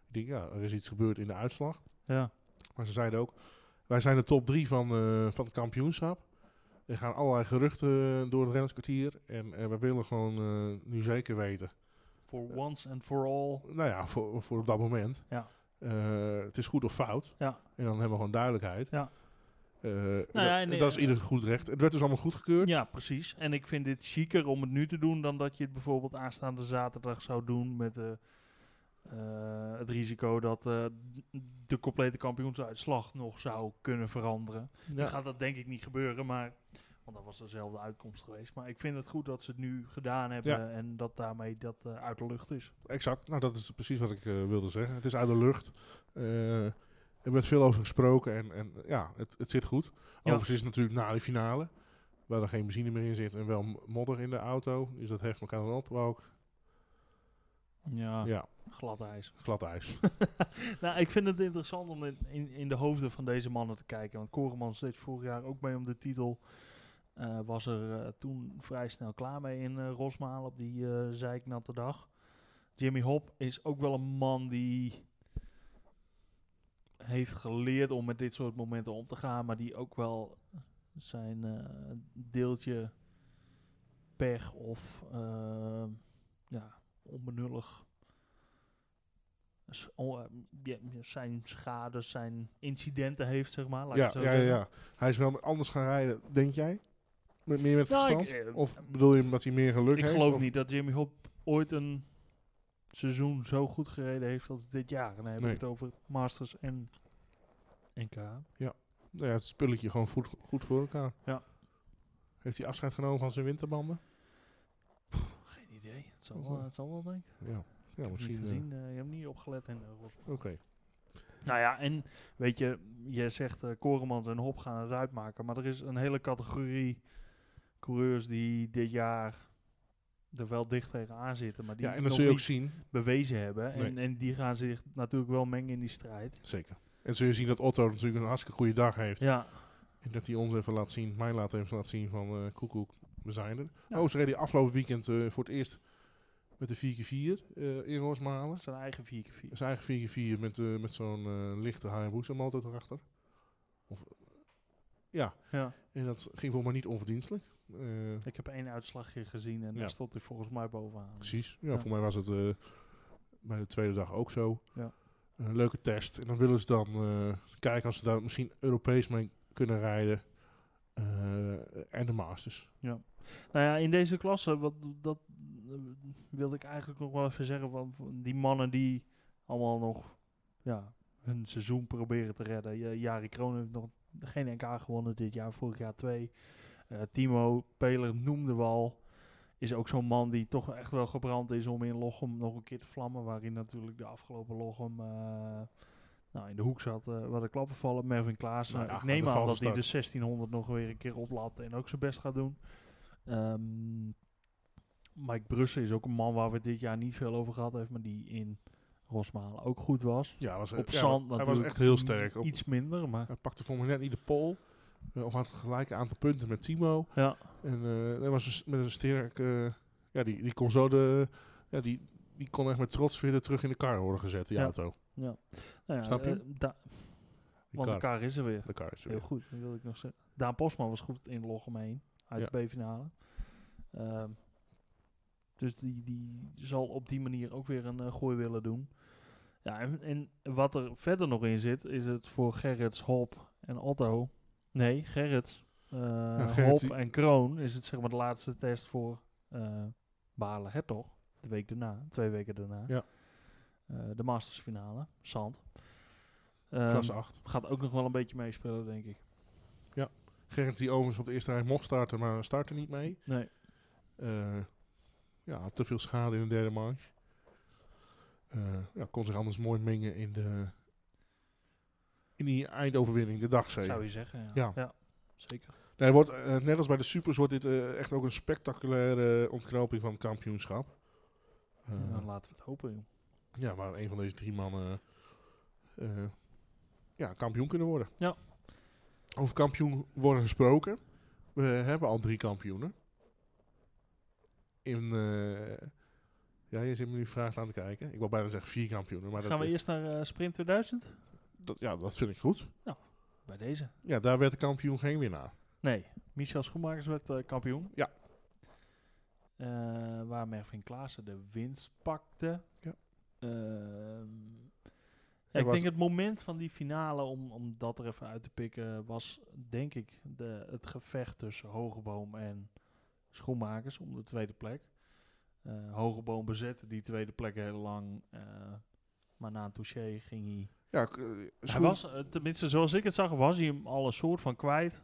Ik denk, ja, er is iets gebeurd in de uitslag.
ja.
Maar ze zeiden ook, wij zijn de top drie van, eh, van het kampioenschap. Er gaan allerlei geruchten door het rennerskwartier. En eh, we willen gewoon eh, nu zeker weten
For once and for all.
nou ja, voor, voor op dat moment.
Ja.
Eh, het is goed of fout.
Ja.
En dan hebben we gewoon duidelijkheid.
Ja.
Eh, dat,
ja,
is-
nee,
dat is
eh,
ieder goed recht. Het werd dus allemaal goedgekeurd.
Ja, precies. En ik vind dit chiquer om het nu te doen dan dat je het bijvoorbeeld aanstaande zaterdag zou doen met eh, eh, het risico dat eh, de complete kampioensuitslag nog zou kunnen veranderen. Dan
Ja.
gaat dat denk ik niet gebeuren, maar. Want dat was dezelfde uitkomst geweest. Maar ik vind het goed dat ze het nu gedaan hebben
Ja.
en dat daarmee dat eh, uit de lucht is.
Exact. Nou, dat is precies wat ik eh, wilde zeggen. Het is uit de lucht. Eh, er werd veel over gesproken. En, en ja, het, het zit goed. Overigens is het natuurlijk na de finale. Waar er geen benzine meer in zit en wel m- modder in de auto. Dus dat heft elkaar dan op. Maar ook,
Ja,
ja,
glad ijs.
glad ijs.
Nou, ik vind het interessant om in, in, in de hoofden van deze mannen te kijken. Want Koremans deed vorig jaar ook mee om de titel. Eh, was er eh, toen vrij snel klaar mee in eh Rosmalen op die eh zeiknatte dag. Jimmy Hop is ook wel een man die heeft geleerd om met dit soort momenten om te gaan. Maar die ook wel zijn eh, deeltje pech of eh, ja, onbenullig s- o- eh, ja, zijn schade, zijn incidenten heeft, zeg maar. Laat ik
ja,
het zo
ja, ja,
zeggen.
ja. Hij is wel met- anders gaan rijden, denk jij? Met, meer met
Nou,
verstand?
ik, eh,
Of bedoel je dat hij meer geluk
Ik
heeft?
geloof
Of-
niet dat Jimmy Hop ooit een seizoen zo goed gereden heeft als dit jaar. En dan hebben we
Nee.
het over Masters en NK.
Nou ja, het spulletje gewoon goed, goed voor elkaar.
Ja.
Heeft hij afscheid genomen van zijn winterbanden?
Geen idee. Het zal,
zal
wel,
wel-
het zal wel, denk ik.
Ja, ja
heb het niet
misschien. eh,
gezien. eh, je hebt niet opgelet in de Ros.
Oké.
Nou ja, en weet je, jij zegt eh Koremans en Hop gaan het uitmaken. Maar er is een hele categorie coureurs die dit jaar er wel dicht tegenaan zitten. Maar die
Ja, en dan
nog
zul je ook
niet
zien.
bewezen hebben. En, en die gaan zich natuurlijk wel mengen in die strijd.
Zeker. En zul je zien dat Otto natuurlijk een hartstikke goede dag heeft.
Ja,
En dat hij ons even laat zien, mij laat even laat zien van eh koekoek, we zijn er.
Ja.
Oh, ze reden afgelopen weekend eh, voor het eerst met de 4x4 eh, in Rosmalen.
zijn eigen 4x4.
Zijn eigen 4x4 met, eh, met zo'n eh, lichte Hayabusa motor erachter. Of, ja,
Ja.
en dat ging voor mij niet onverdienstelijk. Eh,
Ik heb één uitslagje gezien en
Ja.
daar stond hij volgens mij bovenaan.
Precies. Ja,
Ja.
voor mij was het eh, bij de tweede dag ook zo.
Ja.
Een leuke test. En dan willen ze dan eh, kijken als ze daar misschien Europees mee kunnen rijden. Eh, en de Masters.
Nou ja, in deze klasse, wat, dat eh, wilde ik eigenlijk nog wel even zeggen. Want die mannen die allemaal nog ja, hun seizoen proberen te redden. Ja, Jari Kroon heeft nog geen NK gewonnen dit jaar, vorig jaar twee. Eh, Timo Peler noemde we al. Is ook zo'n man die toch echt wel gebrand is om in Lochem nog een keer te vlammen. Waarin natuurlijk de afgelopen Lochem eh, nou, in de hoek zat. eh waar de klappen vallen. Mervin Klaassen.
Nou ja,
ik
aan
neem
de
aan
valse
dat hij de
start.
1600 nog weer een keer oplapt. En ook zijn best gaat doen. Ehm, Mike Brussen is ook een man waar we dit jaar niet veel over gehad hebben. Maar die in Rosmalen ook goed was.
Ja, was, eh,
Op
ja,
zand
hij was
natuurlijk
echt heel sterk. Op,
Iets minder, maar
hij pakte voor mij net niet de pol. eh, of had het gelijk aantal punten met Timo.
ja.
En eh hij was een s- met een sterk... eh, ja, die, die kon zo de... Ja, die, die kon echt met trots weer terug in de kar worden gezet, die
Ja.
auto.
Nou ja
Snap je?
eh, Da-
Die
want
kar.
elkaar is er weer.
De kar is er
Heel
weer.
goed, dat wil ik nog zeggen. Daan Postman was goed in Lochem heen, uit
Ja.
de B-finale. Ehm, dus die, die zal op die manier ook weer een eh, gooi willen doen. Ja, en, en wat er verder nog in zit, is het voor Gerrits, Hop en Otto. Nee, Gerrits, eh,
Gerrits
Hop
die-
en Kroon is het zeg maar de laatste test voor eh Balen Hertog. De week daarna, twee weken daarna.
Ja.
Eh, de mastersfinale, Zand.
Klasse
Ehm,
8.
gaat ook nog wel een beetje meespelen, denk ik.
Gerrit die overigens op de eerste rij mocht starten, maar startte niet mee.
Nee.
Eh, ja, had te veel schade in de derde manche. Eh, ja, kon zich anders mooi mengen in, de, in die eindoverwinning, de dagzege.
Zou je zeggen, ja.
Ja.
zeker.
Nee, wordt, eh, net als bij de Supers wordt dit eh, echt ook een spectaculaire ontknoping van het kampioenschap. Eh,
Ja, dan Nou, laten we het hopen, joh.
ja, waar een van deze drie mannen eh, ja, kampioen kunnen worden.
Ja.
Over kampioen worden gesproken. We hebben al drie kampioenen. In, eh, ja, je zit me nu vraag aan te kijken. Ik wil bijna zeggen vier kampioenen. Maar
Gaan
dat,
we eerst naar eh, Sprint 2000?
dat, ja, dat vind ik goed.
Bij deze.
Ja, daar werd de kampioen geen winnaar.
Nee, Michel Schoenmakers werd eh, kampioen.
Ja.
Eh, waar Mervin Klaassen de winst pakte.
Ja.
Ehm, ja,
Er
ik
was-
denk het moment van die finale, om, om dat er even uit te pikken, was denk ik de, het gevecht tussen Hogeboom en Schoenmakers om de tweede plek. Eh Hogeboom bezette die tweede plek heel lang, eh, maar na een touché ging hij
Ja, k- eh,
hij
Schoen-
was, eh, tenminste zoals ik het zag, was hij hem al een soort van kwijt.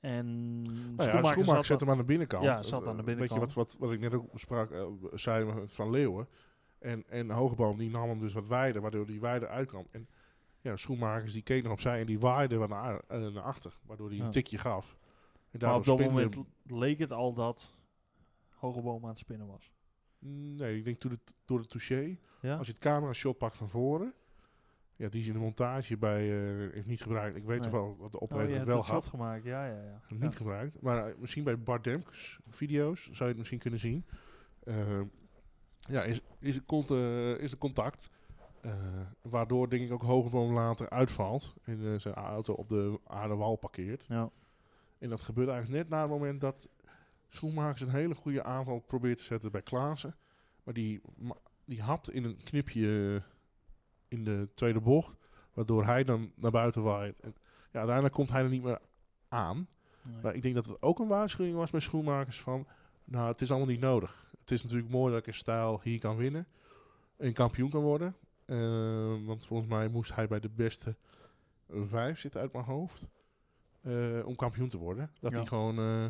En
nou ja, Schoenmaker zet hem aan de binnenkant.
Ja, zat aan de
Eh,
binnenkant.
Weet je wat, wat, wat ik net ook besprak, eh, zei van Leeuwen. En, en Hogeboom die nam hem dus wat wijder, waardoor die wijder uitkwam. En ja, Schoenmakers die keek nog opzij en die waaide wat naar, eh, naar achter, waardoor hij
Ja.
een tikje gaf. En
maar
daardoor
op dat
spinde
moment
hem-
leek het al dat Hogeboom aan het spinnen was.
Nee, ik denk door de, door de touché.
Ja?
Als je het camera shot pakt van voren. Ja, die is in de montage bij, eh, heeft niet gebruikt. Ik weet
Nee.
toch wel dat de
Oh, je
opleiding
hebt
het wel
het shot
had.
gemaakt, ja, ja, ja.
Niet gebruikt. Maar eh, misschien bij Bart Demkes video's zou je het misschien kunnen zien. Eh, ja, is, is, het cont- eh, is het contact. eh, waardoor denk ik ook Hogeboom later uitvalt. En eh, zijn auto op de aardewal parkeert.
Ja.
En dat gebeurt eigenlijk net na het moment dat Schoenmakers een hele goede aanval probeert te zetten bij Klaassen. Maar die, ma- die hapt in een knipje eh, in de tweede bocht. Waardoor hij dan naar buiten waait. En ja, daarna komt hij er niet meer aan.
Nee.
Maar ik denk dat het ook een waarschuwing was bij schoenmakers van... Nou, het is allemaal niet nodig. Het het is natuurlijk mooi dat ik in stijl hier kan winnen. En kampioen kan worden. Eh, want volgens mij moest hij bij de beste vijf zitten uit mijn hoofd. eh, om kampioen te worden. Dat
Ja.
hij gewoon, eh,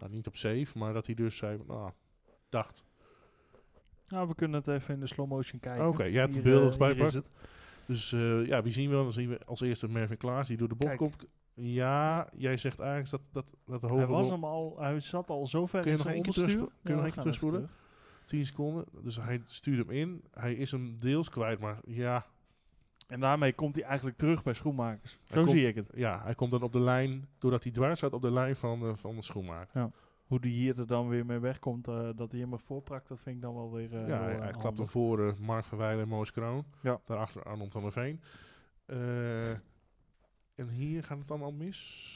nou, niet op safe, maar dat hij dus zei, nou, dacht.
Nou, we kunnen het even in de slow motion kijken.
Oké, jij hebt de
Hier,
beelden
eh,
erbij
hier is
gepakt. Dus eh, ja, wie zien we dan? Dan zien we als eerste Mervin Klaas die door de bocht
Kijk.
komt. Ja, jij zegt eigenlijk dat, dat, dat de
Hij
hoge
was
bol
hem al, hij zat al zo ver
Kun je
in
nog
zijn
één keer
onderstuur.
terugspo- kun je nog
we
één
gaan
keer
even
terugspoelen?
terug.
10 seconden. Dus hij stuurt hem in. Hij is hem deels kwijt, maar ja,
En daarmee komt hij eigenlijk terug bij schoenmakers.
Hij
Zo
komt-
zie ik het.
ja, hij komt dan op de lijn, doordat hij dwars staat op de lijn van, eh, van de schoenmaker.
Hoe die hier er dan weer mee wegkomt, eh, dat hij hem maar voorprakt, dat vind ik dan wel weer eh,
ja,
heel,
hij,
eh,
hij klapt hem
handig.
voor eh, Mark van Weijden en Moos Kroon.
Ja.
Daarachter Arnold van der Veen. Eh, en hier gaat het dan al mis.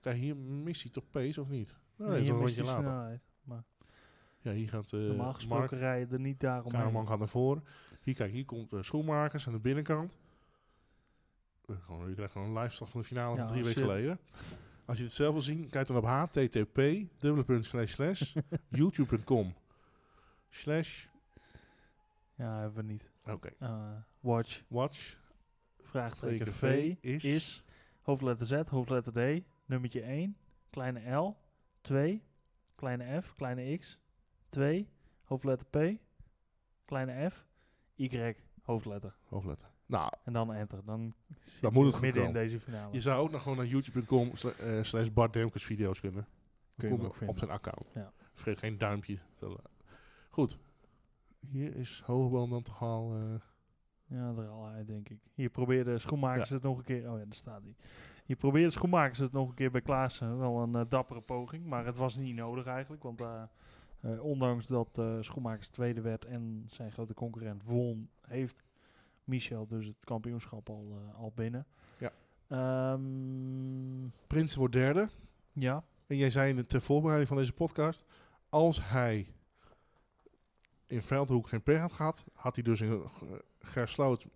Kijk, hier mist hij toch pace of niet? Nou, dat is
Hier
al een
mist
rondje
hij
later.
snelheid.
Ja, hier gaat eh
Normaal
Mark
gesproken rijden er niet daaromheen.
Kamerman gaat naar voren. Hier, kijk, hier komt eh, Schoenmakers aan de binnenkant. Eh, gewoon, je krijgt gewoon een live van de finale
Ja,
van drie weken
shit.
geleden. Als je het zelf wil zien, kijk dan op http dubbele punt slash slash youtube.com slash
Ja, hebben we niet.
oké
Eh, watch,
watch
vraagteken V,
is,
is hoofdletter Z, hoofdletter D, nummertje 1, kleine L, 2, kleine F, kleine X, 2, hoofdletter P, kleine F, Y, hoofdletter.
hoofdletter. Nou,
En dan enter. Dan zit
Dat
je
moet het goed
midden in
komen.
deze finale.
je zou ook nog gewoon naar youtube.com sla- eh, slash Bart Demkes video's kunnen.
Kun je
Kom
hem ook
op, op
vinden.
zijn account.
Ja.
Vergeet geen duimpje te la- Goed. Hier is Hogeboom dan toch al... eh,
Ja, er al uit, denk ik. Hier probeerde Schoenmakers het nog een keer. Oh ja, daar staat hij. Hier probeerde Schoenmakers het nog een keer bij Klaassen. Wel een eh, dappere poging, maar het was niet nodig eigenlijk. Want eh, eh, ondanks dat eh, Schoenmakers tweede werd en zijn grote concurrent won, heeft Michel dus het kampioenschap al, eh, al binnen.
Ja.
Ehm,
Prinsen wordt derde.
ja.
En jij zei in- ter voorbereiding van deze podcast, als hij in Veldhoek geen pech had gehad, had hij dus in eh, Gersloot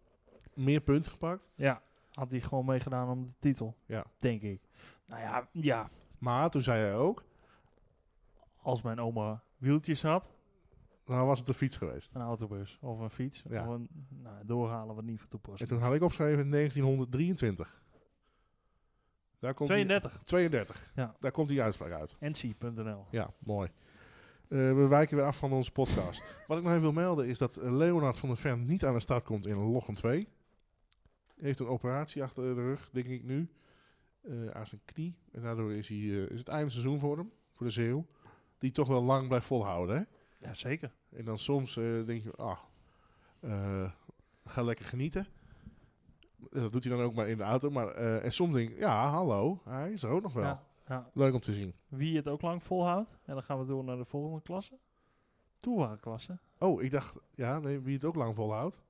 meer punten gepakt.
ja, had hij gewoon meegedaan om de titel.
Ja.
Denk ik. Nou ja, ja,
Maar toen zei hij ook,
als mijn oma wieltjes had,
nou was het de fiets geweest.
een autobus of een fiets.
Ja.
Of een nou, doorhalen wat niet van
En
toepassing.
toen had ik opgeschreven 1923. Daar komt die-
32,
32.
Ja.
Daar komt die uitspraak uit.
nc.nl.
Ja, mooi. Eh, we wijken weer af van onze podcast. Wat ik nog even wil melden is dat eh, Leonard van der Ven niet aan de start komt in Lochem 2. Hij heeft een operatie achter de rug, denk ik nu, eh, aan zijn knie. En daardoor is, hij, eh, is het einde seizoen voor hem, voor de Zeeuw. Die toch wel lang blijft volhouden. Hè?
Ja, zeker.
En dan soms eh, denk je, ah, eh, ga lekker genieten. Dat doet hij dan ook maar in de auto. Maar, eh, en soms denk ik, ja, hallo, hij is er ook nog wel.
Ja, ja.
Leuk om te zien.
Wie het ook lang volhoudt. En dan gaan we door naar de volgende klasse. Toewagenklasse.
Oh, ik dacht, ja, nee, wie het ook lang volhoudt.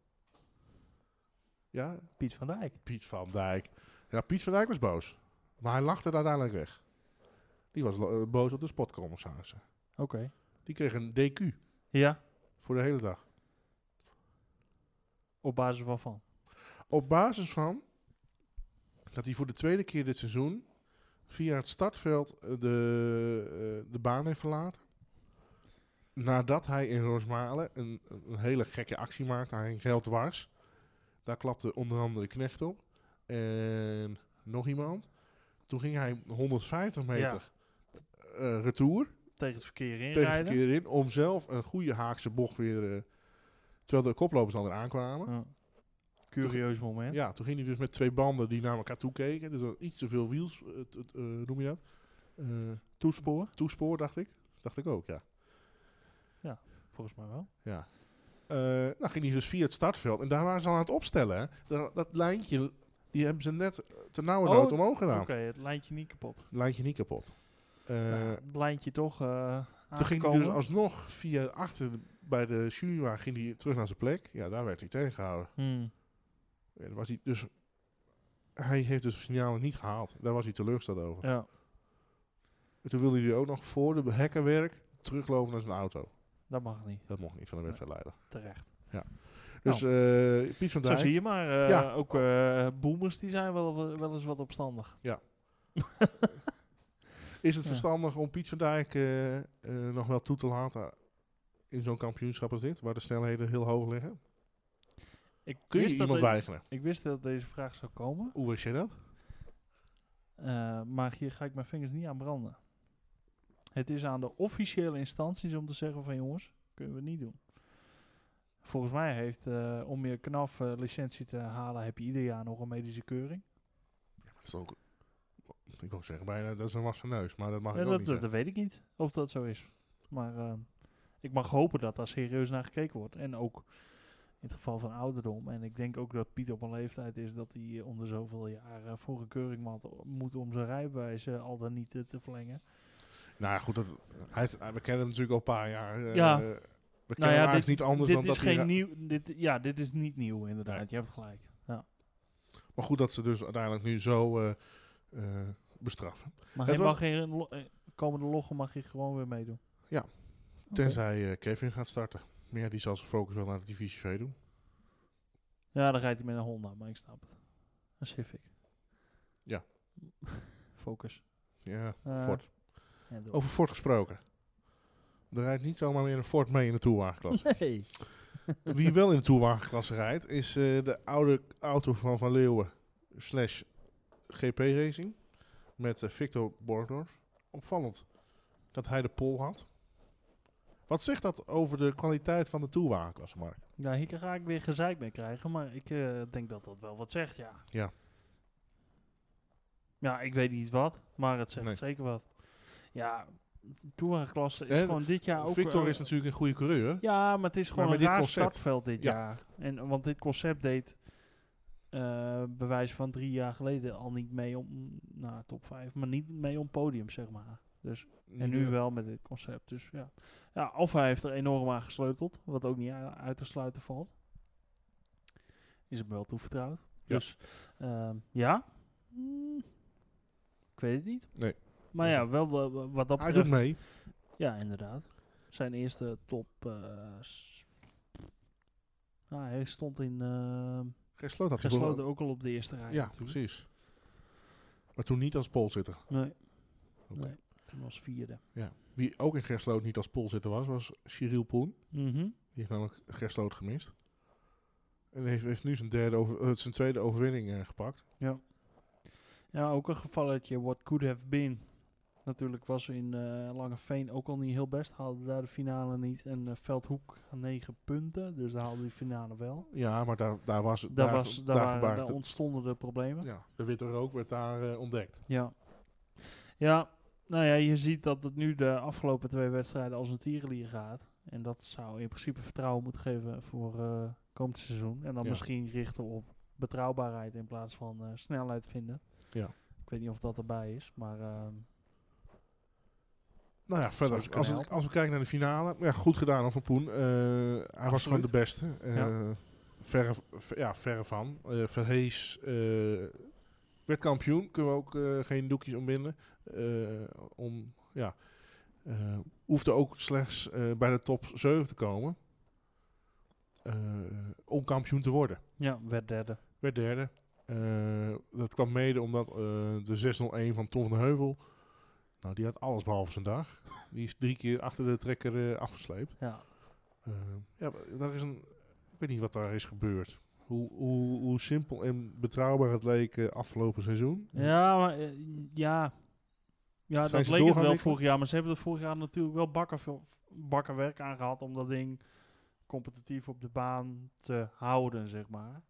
Ja,
Piet van Dijk.
Piet van Dijk. Ja, Piet van Dijk was boos. Maar hij lachte het uiteindelijk weg. Die was lo- eh, boos op de spotcommissarissen.
Oké.
Die kreeg een DQ
Ja,
voor de hele dag.
op basis waarvan?
Op basis van dat hij voor de tweede keer dit seizoen via het startveld eh, de, eh, de baan heeft verlaten. Nadat hij in Roosmalen een, een hele gekke actie maakte. Hij ging geld dwars. Daar klapte onder andere Knecht op. En nog iemand. Toen ging hij 150 meter eh, retour
Tegen het verkeer inrijden.
tegen het verkeer in. Om zelf een goede haakse bocht weer... eh, terwijl de koplopers al eraan kwamen.
Ja. Curieus moment.
Ja, toen ging hij dus met twee banden die naar elkaar toe keken. Dus er was iets te veel wiels, eh, t- t- eh, noem je dat? Eh,
Toespoor.
toespoor, dacht ik. Dacht ik ook, ja.
Volgens mij wel.
ja. Eh, nou ging hij dus via het startveld. En daar waren ze al aan het opstellen. Hè. Dat, dat lijntje, die hebben ze net eh, te nauwe
Oh,
nood omhoog gedaan.
Oké, het lijntje niet kapot.
Lijntje niet kapot. Nou. Eh,
Ja, het lijntje toch eh
toen ging hij
aangekomen.
dus alsnog via achter bij de jurywagen ging hij terug naar zijn plek. Ja, daar werd hij tegengehouden.
Hmm.
Ja, daar was hij dus... Hij heeft dus signalen niet gehaald. Daar was hij teleurgesteld over.
Ja.
En toen wilde hij ook nog voor de hekkenwerk teruglopen naar zijn auto.
Dat mag niet.
Dat mocht niet van de wedstrijdleider.
Terecht.
Dus eh, Piet
Nou. Zo
van Dijk.
zie je maar. eh,
Ja.
Ook eh boomers die zijn wel, wel eens wat opstandig.
Is het
Ja.
verstandig om Piet van Dijk eh, eh, nog wel toe te laten in zo'n kampioenschap als dit, waar de snelheden heel hoog liggen?
Ik
Kun je
wist dat
iemand
de-
weigeren?
Ik wist dat deze vraag zou komen,
Hoe wist je dat?
eh, maar hier ga ik mijn vingers niet aan branden. Het is aan de officiële instanties om te zeggen van jongens, kunnen we niet doen. Volgens mij heeft, eh, om je knaf eh, licentie te halen, heb je ieder jaar nog een medische keuring.
Dat is ook, ik wil zeggen bijna, dat is een wassen neus, maar Oh, dat mag
Ja,
ik ook
dat,
niet
dat,
zeggen.
dat weet ik niet of dat zo is. Maar eh, ik mag hopen dat daar serieus naar gekeken wordt. En ook in het geval van ouderdom. En ik denk ook dat Piet op een leeftijd is dat hij onder zoveel jaren voor een keuring mat- moet om zijn rijbewijs eh, al dan niet eh, te verlengen.
Nou ja, goed, dat, hij, is- we kennen hem natuurlijk al een paar jaar. eh,
Ja. Nou
We kennen
ja,
hem eigenlijk
dit-
niet anders
dit
dan
is
dat hij...
geen nieuw. Dit, ja, dit is niet nieuw inderdaad. Je hebt gelijk. Ja.
Maar goed dat ze dus uiteindelijk nu zo eh, eh, bestraffen.
Maar
Het
hij mag
was-
geen lo- eh, komende loggen mag je gewoon weer meedoen.
Ja.
Oké.
Tenzij eh, Kevin gaat starten. Maar ja, die zal zijn focus wel naar de divisie V doen.
Ja, dan rijdt hij met een Honda, maar ik snap het. Een Civic.
Ja.
Focus.
Ja,
Eh,
Ford.
ja, door.
Over Ford gesproken. Er rijdt niet zomaar meer een Ford mee in de toewagenklasse.
Nee.
Wie wel in de toewagenklasse rijdt, is eh, de oude auto van Van Leeuwen slash GP Racing. Met eh, Victor Borgdorf. Opvallend dat hij de pol had. Wat zegt dat over de kwaliteit van de toewagenklasse, Mark?
Ja, Nou, hier ga ik weer gezeik mee krijgen, maar ik eh, denk dat dat wel wat zegt, ja.
Ja.
Ja, ik weet niet wat, maar het zegt
Nee.
zeker wat. Ja, toewagenklasse is
Eh,
gewoon dit jaar ook...
Victor
eh,
is natuurlijk een goede coureur.
Ja, maar het is gewoon
met
een
dit
raar
concept-
startveld dit
ja.
jaar. En, want dit concept deed eh bewijs van drie jaar geleden al niet mee om... Nou, top vijf, maar niet mee om podium, zeg maar. En nu wel met dit concept. Dus ja. ja Alfa heeft er enorm aan gesleuteld. Wat ook niet a- uit te sluiten valt. Is hem wel toevertrouwd.
Ja.
Dus ehm, ja. Mm. Ik weet het niet.
Nee.
Maar ja, wel wa- wa- wat dat
Hij doet
betreft.
mee.
Ja, inderdaad. Zijn eerste top. eh, s- nou, hij stond in. ehm
Gesloten had hij wel-
gesloten ook al op de eerste rij.
Ja,
natuurlijk.
precies. Maar toen niet als polzitter.
Nee,
Oké.
nee. Toen was vierde.
Ja. Wie ook in Gersloot niet als polzitter was, was Cyril Poen.
Mhm.
Die heeft namelijk Gersloot gemist. En heeft, heeft nu zijn, derde over, eh, zijn tweede overwinning eh, gepakt.
Ja, ook een gevalletje. What could have been. Natuurlijk was in eh Langeveen ook al niet heel best. Haalde daar de finale niet. En eh, Veldhoek 9 punten. Dus daar haalde die finale wel.
Ja, maar daar, daar was het.
Daar, was, daar, waren-
gebaarde
daar
het-
ontstonden de problemen.
ja, de witte rook werd daar eh, ontdekt.
Ja. ja, nou ja, je ziet dat het nu de afgelopen twee wedstrijden als een tierenlier gaat. En dat zou in principe vertrouwen moeten geven voor eh komend seizoen. En dan
Ja.
misschien richten op betrouwbaarheid in plaats van eh, snelheid vinden.
Ja.
Ik weet niet of dat erbij is, maar... ehm,
Nou ja, verder.
Zou
Als,
het kunnen
het- als we kijken naar de finale. Ja, goed gedaan hoor, van Poen. Eh, hij was
Absoluut.
gewoon de beste. Eh,
Ja.
Verre, ver- ja, verre van. Eh, Verhees eh, werd kampioen. Kunnen we ook eh, geen doekjes ombinden. Eh, om, ja, eh, hoefde ook slechts eh, bij de top 7 te komen. eh, om kampioen te worden.
Ja, werd derde.
Werd derde. Eh, dat kwam mede omdat eh, de 601 van Tom van de Heuvel. Nou, die had alles behalve zijn dag. Die is drie keer achter de trekker eh, afgesleept.
Ja.
Eh, ja, daar is een. Ik weet niet wat daar is gebeurd. Hoe, hoe, hoe simpel en betrouwbaar het leek eh, afgelopen seizoen.
Ja, maar eh, ja. Ja, dat
Zijn ze
leek het
doorgaan,
wel
Nico?
vorig jaar. Maar ze hebben er vorig jaar natuurlijk wel bakken, bakkenwerk aan gehad om dat ding competitief op de baan te houden, zeg maar.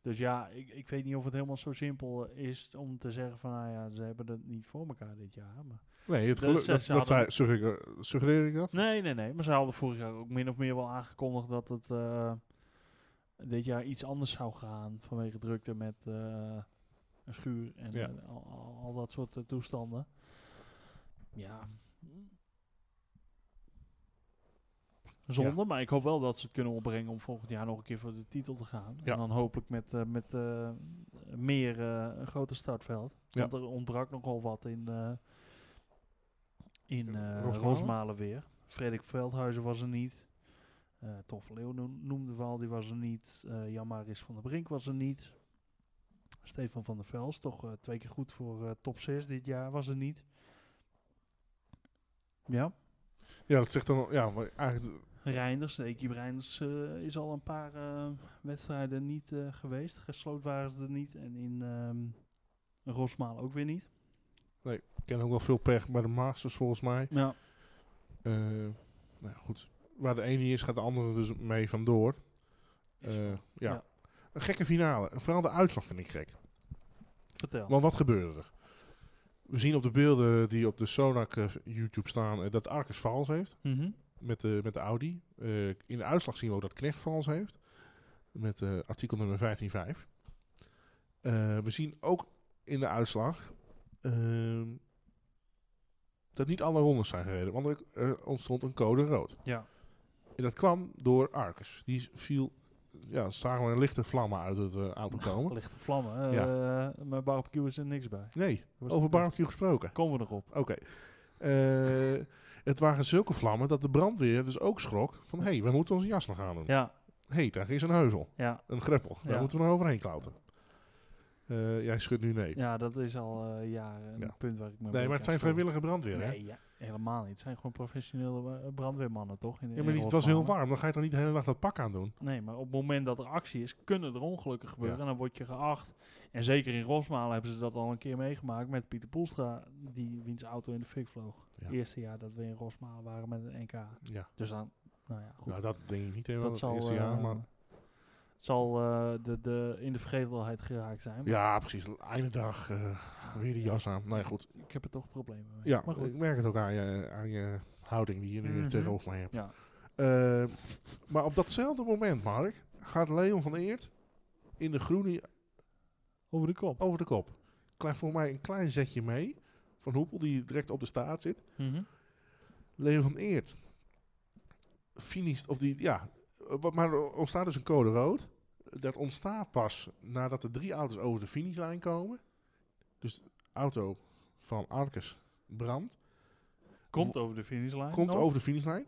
Dus ja, ik, ik weet niet of het helemaal zo simpel eh, is om te zeggen van, nou ja, ze hebben het niet voor elkaar dit jaar. Maar
Nee, het
Dus
geluk,
ze-
dat,
ze
dat zei,
hadden-
suggereer, suggereer ik dat?
Nee, nee, nee. Maar ze hadden vorig jaar ook min of meer wel aangekondigd dat het eh, dit jaar iets anders zou gaan. Vanwege drukte met eh, een schuur en
Ja.
eh, al, al- al dat soort eh, toestanden. Ja. Zonde, maar ik hoop wel dat ze het kunnen opbrengen om volgend jaar nog een keer voor de titel te gaan.
Ja.
En dan hopelijk met, eh, met eh, meer eh, een groter startveld.
Ja.
Want er ontbrak nogal wat in, eh, in
In
eh,
Rosmalen?
Rosmalen weer. Frederik Veldhuizen was er niet. Eh Tof Leeuw noem- noemden we al, die was er niet. Eh Jan Maris van der Brink was er niet. Stefan van der Vels, toch eh, twee keer goed voor eh, top 6 dit jaar, was er niet. Ja.
Ja, dat zegt dan... Ja, maar eigenlijk...
Reinders, de equipe Reinders eh, is al een paar eh, wedstrijden niet eh, geweest. Gesloten waren ze er niet. En in ehm Rosmalen ook weer niet.
Ik ken ook wel veel pech bij de Masters volgens mij.
Ja.
Eh, nou ja, goed. Waar de ene niet is, gaat de andere dus mee vandoor.
Is
Eh, ja.
Ja.
Een gekke finale. Vooral de uitslag vind ik gek.
Vertel.
Want wat gebeurde er? We zien op de beelden die op de Sonak eh, YouTube staan eh, dat Arcus vals heeft.
Mhm.
met de, met de Audi. Eh, in de uitslag zien we ook dat Knecht vals heeft. Met eh, artikel nummer 15.5. Eh we zien ook in de uitslag ehm, dat niet alle rondes zijn gereden. Want er, er ontstond een code rood.
Ja.
En dat kwam door Arcus. Die viel, ja, zagen we een lichte vlammen uit het eh, auto komen.
Lichte vlammen. Eh, maar barbecue is er niks bij.
Nee,
Was-
over barbecue gesproken.
Komen we nog op.
Oké. Eh, het waren zulke vlammen dat de brandweer dus ook schrok van... hé, hey, we moeten onze jas nog aan doen.
Ja.
Hé, hey, daar is een heuvel.
Ja.
Een greppel. Daar
Ja.
moeten we nog overheen klauteren. Eh, jij schudt nu nee.
Ja, dat is al eh, jaren een
Ja.
punt waar ik me een beetje
nee, maar
aan
het zijn
stoor.
vrijwillige brandweer, hè?
Nee, ja, helemaal niet. Het zijn gewoon professionele eh, brandweermannen, toch? In,
Ja,
in
maar die- het was heel
Rosmalen.
warm. Dan ga je toch niet de hele dag dat pak aan doen?
Nee, maar op het moment dat er actie is, kunnen er ongelukken gebeuren.
Ja.
En dan word je geacht. En zeker in Rosmalen hebben ze dat al een keer meegemaakt met Pieter Poelstra, die wiens auto in de fik vloog.
Ja.
Het eerste jaar dat we in Rosmalen waren met een NK.
Ja.
Dus dan, nou ja, goed.
Nou, dat denk ik niet
dat
helemaal het
zal,
eerste
eh,
jaar, maar...
het zal eh, de, de, in de vergetelheid geraakt zijn. maar
Ja, precies. Einde dag eh, weer die jas aan. Nee, goed.
Ik heb er toch problemen mee.
Ja,
maar goed.
ik merk het ook aan je, aan je houding die je nu
Mhm.
tegenover mij hebt.
Ja.
Eh, maar op datzelfde moment, Mark, gaat Leon van Eert in de groene
Over de kop.
over de kop. Klein, voor mij een klein zetje mee van Hoepel, die direct op de staart zit.
Mhm.
Leon van Eert. Finished, of die, ja. eh, wat- Maar er ontstaat dus een code rood. Dat ontstaat pas nadat de drie auto's over de finishlijn komen. Dus de auto van Arkes brandt.
Komt over de finishlijn.
Komt
nog.
over de finishlijn.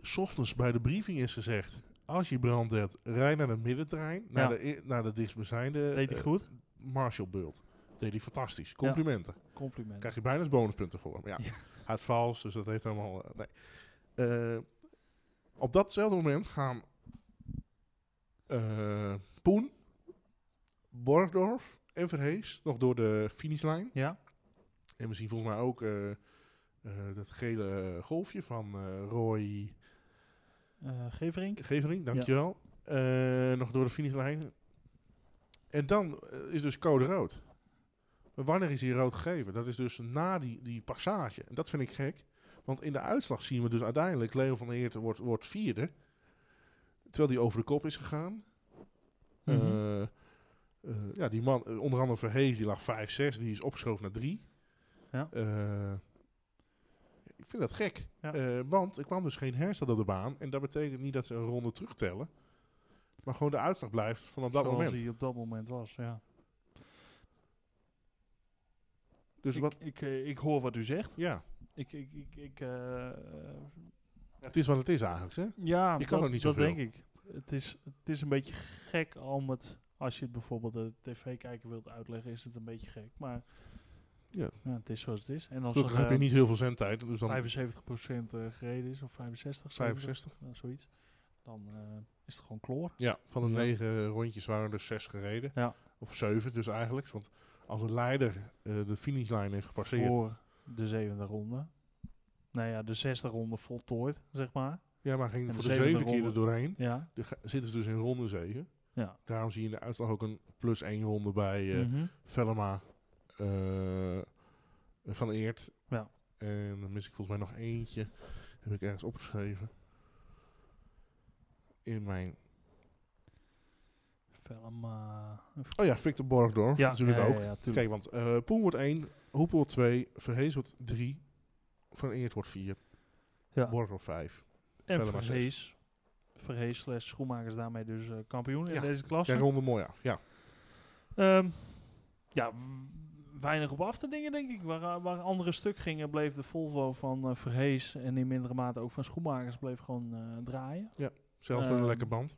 's Ochtends bij de briefing is gezegd... Als je brand hebt, rijd naar het middenterrein. Naar,
Ja.
de, i- naar de dichtstbijzijnde
Deed hij
eh,
goed?
Marshall-bult. Deed hij fantastisch. Complimenten.
Compliment.
krijg je bijna eens bonuspunten voor. Maar ja, hij is vals, dus dat heeft helemaal... eh, nee. Eh, op datzelfde moment gaan eh, Poen, Borgdorf en Verhees nog door de finishlijn.
Ja.
En we zien volgens mij ook eh, eh, dat gele golfje van eh, Roy
Eh Geverink.
Gevering, dankjewel. Eh, nog door de finishlijn. En dan eh, is dus code rood. Maar wanneer is die rood gegeven? Dat is dus na die, die passage. En dat vind ik gek. Want in de uitslag zien we dus uiteindelijk... Leo van der Heert wordt, wordt vierde. Terwijl die over de kop is gegaan.
Mhm.
Eh, eh, ja, die man, eh, onder andere Verhees, die lag 5-6. Die is opgeschoven naar 3.
Ja.
Eh, ik vind dat gek.
Ja.
Eh, want er kwam dus geen herstad op de baan. En dat betekent niet dat ze een ronde terugtellen. Maar gewoon de uitslag blijft vanaf dat
zoals
moment.
hij op dat moment was, ja.
Dus
ik,
wat...
Ik, eh, ik hoor wat u zegt.
Ja,
Ik, ik, ik, ik, eh, eh,
het is wat het is eigenlijk. Hè?
ja,
Je kan
dat,
ook niet
dat
zoveel.
denk ik. Het is, het is een beetje gek om het... Als je het bijvoorbeeld de tv-kijker wilt uitleggen, is het een beetje gek. Maar
Ja.
het is zoals het is. En als
Gelukkig
er
heb je
eh,
niet heel veel zendtijd. Dus dan
75% eh, gereden is, of 65,
65.
nou, zoiets, dan eh, is het gewoon kloor.
Ja, van de
Ja.
negen rondjes waren er zes gereden.
Ja.
Of zeven dus eigenlijk. Want als de leider eh, de finishlijn heeft gepasseerd...
Voor de zevende ronde. Nou ja, de zesde ronde voltooid, zeg maar.
Ja, maar ging
En
voor
de
de
zevende
zevende keer er
ronde.
doorheen.
Ja.
Dan ga- zitten ze dus in ronde zeven.
Ja.
Daarom zie je in de uitslag ook een plus één ronde bij... eh,
Mhm.
Velma, eh, Van Eert.
Ja.
En dan mis ik volgens mij nog eentje. Heb ik ergens opgeschreven. In mijn...
Velma.
Oh ja, Victor Borgdorf natuurlijk ook.
Ja, tuurlijk.
Kijk, want eh Poen wordt 1, Hoepel wordt 2, Verhees wordt 3, Van Eert wordt 4,
Ja.
Borgdorf 5.
en
Velma
Verhees. Verhees slash Schoenmakers daarmee dus eh, kampioen
Ja.
in deze klasse.
Jij ronde mooi af, ja.
Ehm, ja, w- weinig op af te dingen, denk ik. Waar, eh, waar andere stuk gingen, bleef de Volvo van eh, Verhees en in mindere mate ook van Schoenmakers bleef gewoon eh, draaien.
Zelfs met een
Ehm,
lekker band.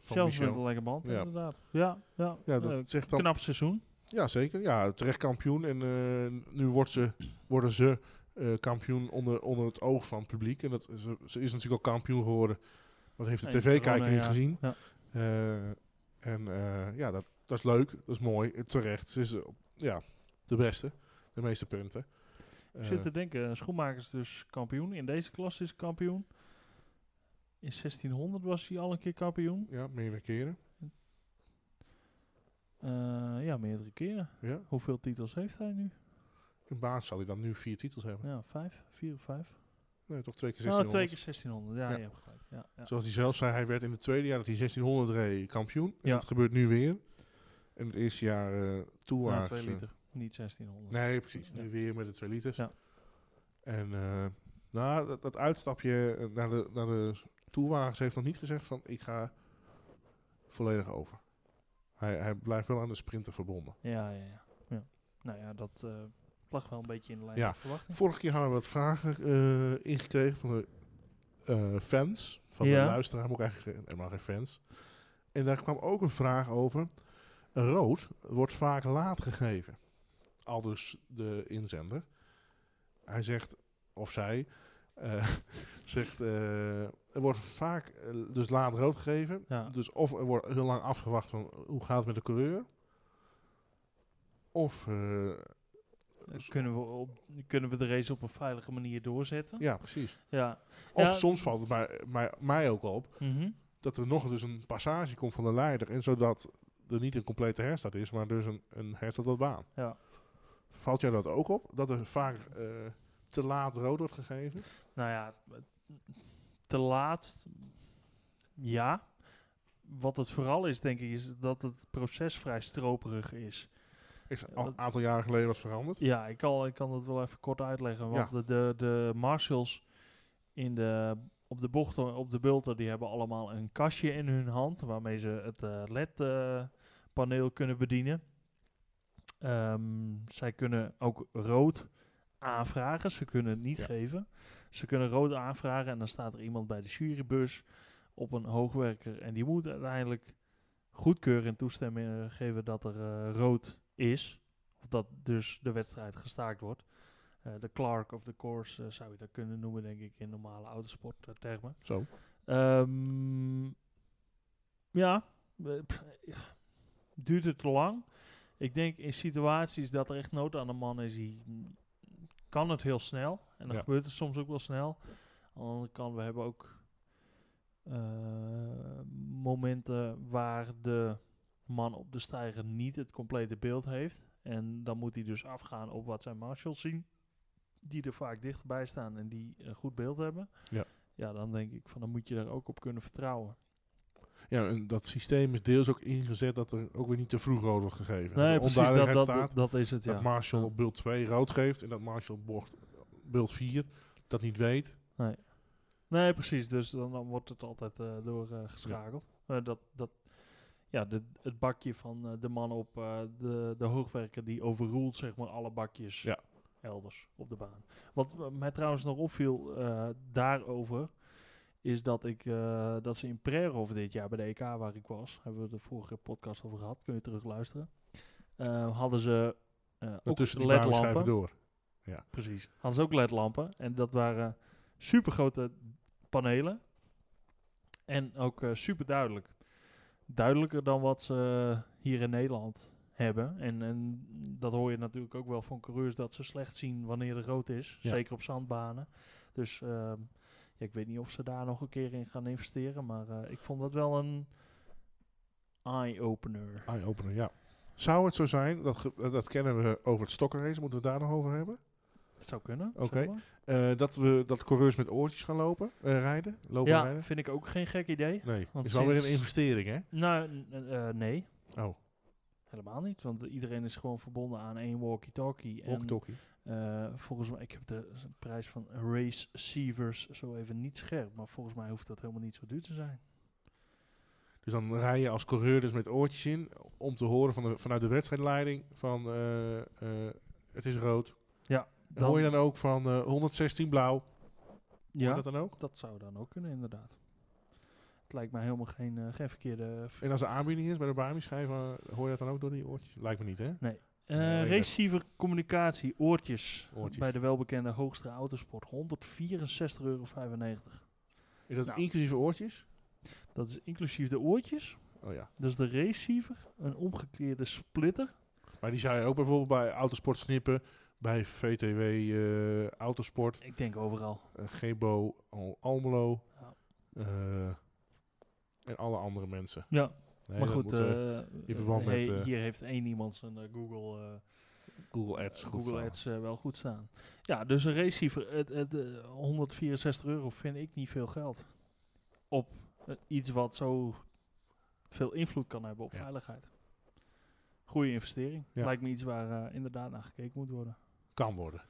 Van
Zelfs
Michel.
met een lekker band,
Ja.
inderdaad. Ja, ja.
Ja,
Eh,
dat zegt dan
knap seizoen.
Ja, zeker. Ja, terecht kampioen. En eh, nu wordt ze, worden ze eh, eh, kampioen onder, onder het oog van het publiek. En dat, ze, ze is natuurlijk al kampioen geworden. Maar dat heeft de
Hey,
tv-kijker
corona,
niet
ja.
gezien.
Ja.
Eh, en eh, ja, dat, dat is leuk. Dat is mooi. eh, Terecht. Ze is eh, op- ja, de beste. De meeste punten.
Ik
Eh,
zit te denken, schoenmakers dus kampioen. In deze klas is hij kampioen. In 1600 was hij al een keer kampioen.
ja, meerdere keren.
Eh, ja, meerdere keren.
Ja.
Hoeveel titels heeft hij nu?
In baas zal hij dan nu vier titels hebben.
Ja, vijf? Vier of vijf?
Nee, toch twee keer
Oh,
1600.
twee keer 1600. Ja,
Ja.
je hebt gelijk. Ja, ja.
Zoals hij zelf zei, hij werd in het tweede jaar dat hij 1600 reed kampioen. En
Ja.
dat gebeurt nu weer. En het eerste jaar eh
Ja,
toewaarts.
twee
eh,
liter. Niet 1600.
Nee, precies. Nu
Ja.
weer met de 2 liters.
Ja.
En eh, nou, dat, dat uitstapje eh, naar de, naar de toewagens heeft nog niet gezegd van ik ga volledig over. Hij, hij blijft wel aan de sprinter verbonden.
Ja, ja, ja. ja. Nou ja, dat eh, lag wel een beetje in de lijn
Ja.
van verwachting.
Vorige keer hadden we wat vragen eh, ingekregen van de eh, fans. Van
Ja.
de luisteraar, moet ik eigenlijk zeggen. helemaal geen fans. En daar kwam ook een vraag over. Rood wordt vaak laat gegeven. Al dus de inzender. Hij zegt, of zij, eh, zegt... eh, er wordt vaak eh, dus laat rood gegeven.
Ja.
Dus of er wordt heel lang afgewacht van hoe gaat het met de coureur. Of, eh,
Eh, Kunnen we, op, kunnen we de race op een veilige manier doorzetten?
ja precies.
Ja.
Of
Ja.
soms valt het mij, mij, mij ook op
Mhm.
dat er nog dus een passage komt van de leider. En zodat er niet een complete herstart is, maar dus een, een herstart op baan.
Ja.
Valt jou dat ook op? Dat er vaak eh, te laat rood wordt gegeven?
Nou ja, te laat. Ja. Wat het vooral is, denk ik, is dat het proces vrij stroperig is.
Is
Ja,
al
dat-
een aantal jaren geleden wat veranderd.
Ja, ik kan, ik kan dat wel even kort uitleggen. Want de, de, de marshals in de, op de bochten, op de bulten, die hebben allemaal een kastje in hun hand waarmee ze het eh, LED-paneel kunnen bedienen. Ehm, zij kunnen ook rood aanvragen. Ze kunnen het niet
Ja.
geven. Ze kunnen rood aanvragen en dan staat er iemand bij de jurybus op een hoogwerker en die moet uiteindelijk goedkeuren en toestemming eh, geven dat er eh, rood is. Of dat dus de wedstrijd gestaakt wordt. Eh, De Clark of de Course eh, zou je dat kunnen noemen, denk ik, in normale eh, autosporttermen.
Zo.
Ehm, ja, eh, pff, eh, duurt het te lang? Ik denk in situaties dat er echt nood aan de man is, die mm, kan het heel snel. En dan
Ja.
gebeurt het soms ook wel snel. Aan de andere kant, we hebben ook eh, momenten waar de man op de stijger niet het complete beeld heeft. En dan moet hij dus afgaan op wat zijn marshals zien. Die er vaak dichtbij staan en die een goed beeld hebben.
Ja.
ja, dan denk ik van dan moet je daar ook op kunnen vertrouwen.
Ja, en dat systeem is deels ook ingezet dat er ook weer niet te vroeg rood wordt gegeven.
Nee,
dat er
precies, dat,
onduidelijkheid
dat,
staat.
dat, dat is het,
Dat
ja.
Marshall op beeld 2 rood geeft en dat Marshall op bocht- beeld 4 dat niet weet.
Nee, precies, dus dan, dan wordt het altijd eh doorgeschakeld. dat, dat, ja, de, het bakje van eh, de man op eh, de, de hoogwerker, die overroelt zeg maar alle bakjes
Ja.
elders op de baan. Wat eh, mij trouwens nog opviel eh, daarover, is dat, ik, eh, dat ze in Prerov dit jaar bij de EK waar ik was, hebben we de vorige podcast over gehad, kun je terug luisteren, eh, hadden ze eh
En
ook
tussen die banen
ledlampen.
schrijven door.
Precies. Hadden ze ook ledlampen. En dat waren super grote panelen. En ook super duidelijk. Duidelijker dan wat ze eh, hier in Nederland hebben. En, en dat hoor je natuurlijk ook wel van coureurs dat ze slecht zien wanneer er rood is.
Ja.
Zeker op zandbanen. Dus ehm, ja, ik weet niet of ze daar nog een keer in gaan investeren. Maar eh, ik vond dat wel een eye-opener.
Eye-opener, ja. Zou het zo zijn, dat, ge- eh, dat kennen we over het stokkenrace, moeten we het daar nog over hebben?
Dat zou kunnen.
Oké.
zeg maar.
Eh, dat we dat coureurs met oortjes gaan lopen, eh, rijden, lopen
Ja,
rijden?
vind ik ook geen gek idee.
Nee,
want
is wel weer een
sinds-
investering, hè?
Nou, n- eh, eh, nee.
Oh,
Helemaal niet, want iedereen is gewoon verbonden aan één walkie-talkie. En,
walkie-talkie.
eh, volgens mij, ik heb de s- prijs van Race Seavers zo even niet scherp, maar volgens mij hoeft dat helemaal niet zo duur te zijn.
Dus dan rij je als coureur dus met oortjes in, om te horen van de, vanuit de wedstrijdleiding van eh, eh, het is rood. Dan hoor je dan ook van eh, 116 blauw, hoor je
ja,
dat
dat,
dan ook?
zou dan ook kunnen, inderdaad. Het lijkt mij helemaal geen, eh, geen verkeerde... v-
eh, En als er aanbieding is bij de Bami schijven, hoor je dat dan ook door die oortjes? Lijkt me niet, hè?
Eh,
Ja, ik weet-
receiver communicatie, oortjes,
Oortjes.
Bij de welbekende Hoogstra Autosport. 164,95 euro.
Is dat
Nou.
inclusief oortjes?
Dat is inclusief de oortjes.
Oh ja.
Dus de receiver, een omgekeerde splitter.
Maar die zou je ook bijvoorbeeld bij Autosport snippen, bij VTW eh, Autosport,
Ik denk overal.
eh, Gebo Al- Almelo
Ja.
eh, en alle andere mensen.
Ja,
Nee,
maar
dat
goed.
moet, eh,
eh,
in verband
hey,
met, eh,
hier heeft één iemand zijn eh, Google, eh,
Google Ads. goed
Google
staan.
Ads eh, wel goed staan. Ja, dus een receiver, het, het, eh, 164 euro vind ik niet veel geld. Op eh, iets wat zo veel invloed kan hebben op
Ja.
veiligheid. Goede investering.
Ja.
Lijkt me iets waar eh, inderdaad naar gekeken moet worden.
Kan worden.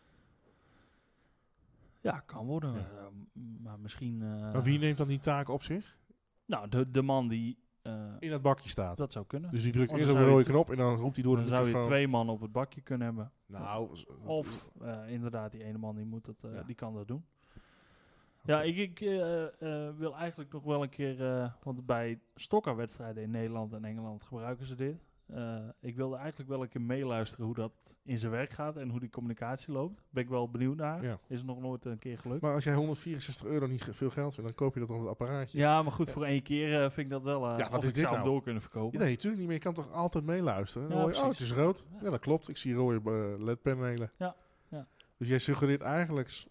Ja, kan worden.
Ja.
Maar, eh, m- maar misschien. eh,
maar wie neemt dan die taak op zich?
Nou, de, de man die. eh,
In dat bakje staat.
dat zou kunnen.
Dus die
Oh,
drukt
dan
eerst op de
zou je
rode knop en dan roept hij door
Dan
de
zou je
microfoon.
twee mannen op het bakje kunnen hebben.
Nou, z- dat-
Of eh, inderdaad, die ene man die, moet dat, eh,
Ja.
die kan dat doen.
Oké.
Ja, ik, ik eh, eh, wil eigenlijk nog wel een keer. eh, want bij stokkerwedstrijden in Nederland en Engeland gebruiken ze dit. Eh, ik wilde eigenlijk wel een keer meeluisteren hoe dat in zijn werk gaat en hoe die communicatie loopt. Ben ik wel benieuwd naar.
Ja.
Is nog nooit een keer gelukt.
Maar als jij 164 euro niet ge- veel geld vindt, dan koop je dat op het apparaatje.
ja, maar goed, voor één keer eh, vind ik dat wel. eh,
Ja, wat
of
is
ik
dit
zou hem
nou?
door kunnen verkopen.
Ja, nee, natuurlijk niet, maar je kan toch altijd meeluisteren? Dan
Ja,
hoor je, oh, het
precies.
is rood.
Ja.
Ja, dat klopt. Ik zie rode eh, ledpanelen.
Ja, ja.
Dus jij suggereert eigenlijk s-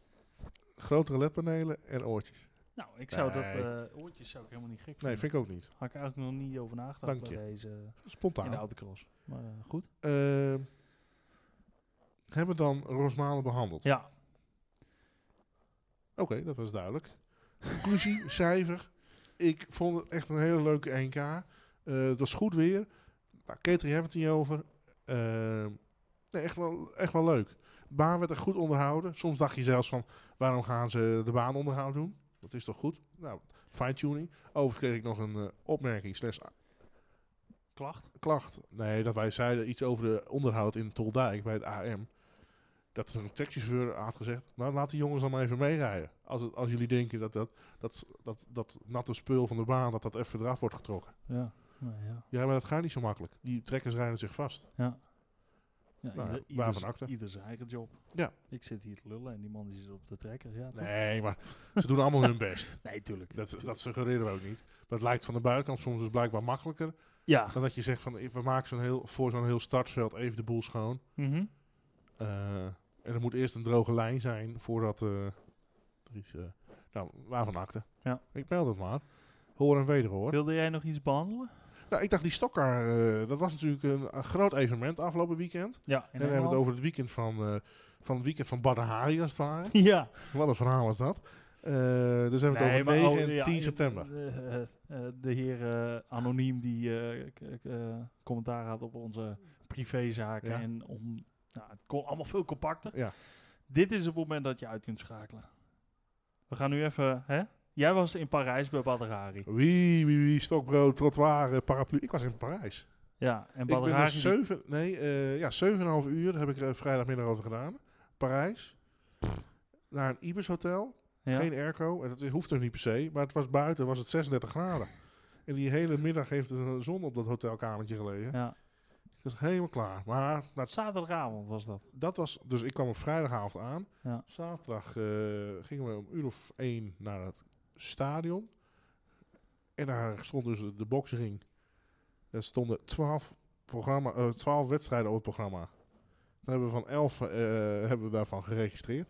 grotere ledpanelen en oortjes.
Nou, ik zou dat
Nee.
eh, oortjes zou ik helemaal niet gek vinden.
Nee, vind ik ook niet.
Had ik eigenlijk nog niet over nagedacht
Dank
bij deze eh, in
Spontaan.
de autocross. Maar eh, goed.
Ehm, hebben we dan Rosmalen behandeld?
Ja,
Oké, dat was duidelijk. Conclusie, cijfer. Ik vond het echt een hele leuke 1K. Eh, het was goed weer. Nou, catering hebben we het niet over. Ehm, nee, echt wel, echt wel leuk. De baan werd echt goed onderhouden. Soms dacht je zelfs van, waarom gaan ze de baan onderhoud doen? Dat is toch goed? Nou, fine-tuning. Overigens kreeg ik nog een eh, opmerking slash
klacht.
klacht. Nee, dat wij zeiden iets over de onderhoud in Toldijk bij het AM. Dat een taxichauffeur had gezegd, nou laat die jongens dan maar even meerijden. Als, het, als jullie denken dat dat, dat, dat dat natte spul van de baan, dat dat even eraf wordt getrokken.
Ja, nou ja.
Ja, maar dat gaat niet zo makkelijk. Die trekkers rijden zich vast.
ja
Nou ja,
ieder,
waarvan
ieder-
akte.
ieder zijn eigen job.
Ja.
Ik zit hier te lullen en die man die zit op de trekker. Ja, toch?
Nee, maar ze doen allemaal hun best.
nee tuurlijk.
Dat, dat suggereren we ook niet. Maar het lijkt van de buitenkant soms dus blijkbaar makkelijker.
ja.
Dan dat je zegt van, we maken zo'n heel, voor zo'n heel startveld even de boel schoon.
Mhm.
Eh, en er moet eerst een droge lijn zijn voordat eh, er iets... eh, nou, waarvan akte.
Ja.
Ik meld het maar. Hoor en wederhoor.
Wilde jij nog iets behandelen?
Nou, ik dacht die Stokkar, eh, dat was natuurlijk een, een groot evenement afgelopen weekend.
Ja,
en dan hebben we het over het weekend van, eh, van het weekend van Badahari als het ware.
Ja.
Wat een verhaal was dat. Eh, dus hebben we het
maar
over 9
oh,
en
ja,
10
eh,
september.
eh, eh, eh, de heer eh, Anoniem die eh, k- k- eh, commentaar had op onze privézaken.
Ja.
En om, nou, het kon allemaal veel compacter.
Ja.
Dit is het moment dat je uit kunt schakelen. We gaan nu even... Hè? Jij was in Parijs bij Badrari.
Wie, wie, wie, stokbrood, trottoir, eh, paraplu. Ik was in Parijs.
Ja, en
Ik ben er
Badrari... die-
7, nee, eh, ja, 7,5 uur heb ik er vrijdagmiddag over gedaan. Parijs. Naar een Ibis hotel.
ja.
Geen airco. En dat hoeft er niet per se. Maar het was buiten, was het 36 graden. En die hele middag heeft de zon op dat hotelkamertje gelegen.
ja.
Ik was helemaal klaar. Maar nou, het-
Zaterdagavond was dat.
dat was... Dus ik kwam op vrijdagavond aan.
Ja.
Zaterdag eh, gingen we om uur of één naar het stadion. En daar stond dus de boxring. Er stonden 12, programma, eh, 12 wedstrijden op het programma. Daar hebben we van 11 eh, hebben we daarvan geregistreerd.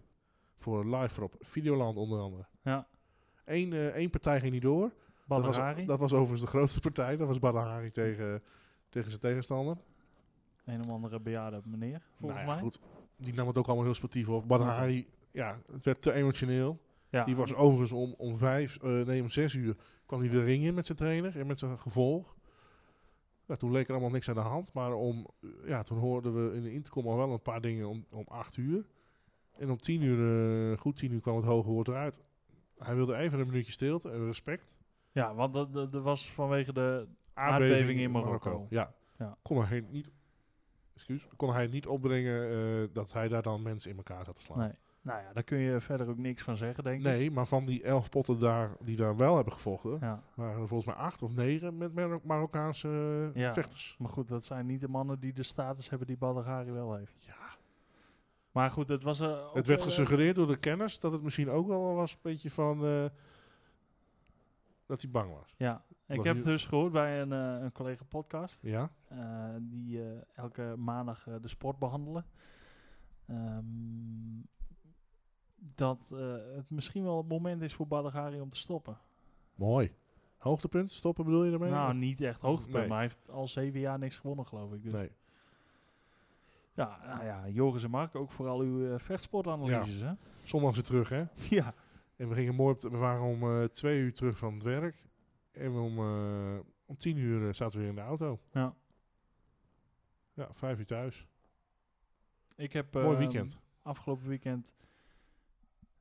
Voor live voor op Videoland onder andere.
Ja.
Eén, eh, één partij ging niet door. Dat was,
Badrari.
dat was overigens de grootste partij. Dat was Badahari tegen, tegen zijn tegenstander.
Een of andere bejaarde meneer, volgens
nou ja,
mij.
goed. Die nam het ook allemaal heel sportief op. Badahari, ja, het werd te emotioneel.
Ja.
Die was overigens om, om vijf, eh, nee om zes uur kwam hij de ring in met zijn trainer en met zijn gevolg. Ja, toen leek er allemaal niks aan de hand, maar om, eh, ja, toen hoorden we in de intercom al wel een paar dingen om, om acht uur. En om tien uur, eh, goed tien uur, kwam het hoge woord eruit. Hij wilde even een minuutje stilte en respect.
ja, want dat, dat, dat was vanwege de... Aardbeving in Marokko.
Ja.
Ja.
Kon hij niet... Excuus, kon hij niet opbrengen eh, dat hij daar dan mensen in elkaar zat te slaan.
Nee, Nou ja, daar kun je verder ook niks van zeggen, denk ik.
Nee, maar van die elf potten daar, die daar wel hebben gevochten,
Ja.
waren er volgens mij acht of negen met Mar- Marokkaanse eh,
Ja.
vechters.
Maar goed, dat zijn niet de mannen die de status hebben die Badagari wel heeft.
Ja.
Maar goed, dat was... eh, ook,
het werd
eh,
gesuggereerd door de kennis dat het misschien ook wel was een beetje van eh, dat hij bang was.
Ja, ik
Was
heb
die-
dus gehoord bij een, eh, een collega podcast.
Ja?
eh, die eh, elke maandag eh, de sport behandelen. Ehm, dat eh, het misschien wel het moment is voor Badagari om te stoppen.
Mooi. Hoogtepunt, stoppen bedoel je daarmee?
Nou, niet echt hoogtepunt,
Nee.
maar hij heeft al zeven jaar niks gewonnen, geloof ik. Dus
nee.
ja, nou ja, Joris en Mark, ook vooral uw eh, vechtsportanalyses, hè?
Zondag weer terug, hè?
Ja.
En we gingen mooi op de- we waren om eh, twee uur terug van het werk. En we om, eh, om tien uur eh, zaten we weer in de auto.
Ja.
Ja, vijf uur thuis.
Ik heb
Mooi
ehm,
weekend.
afgelopen weekend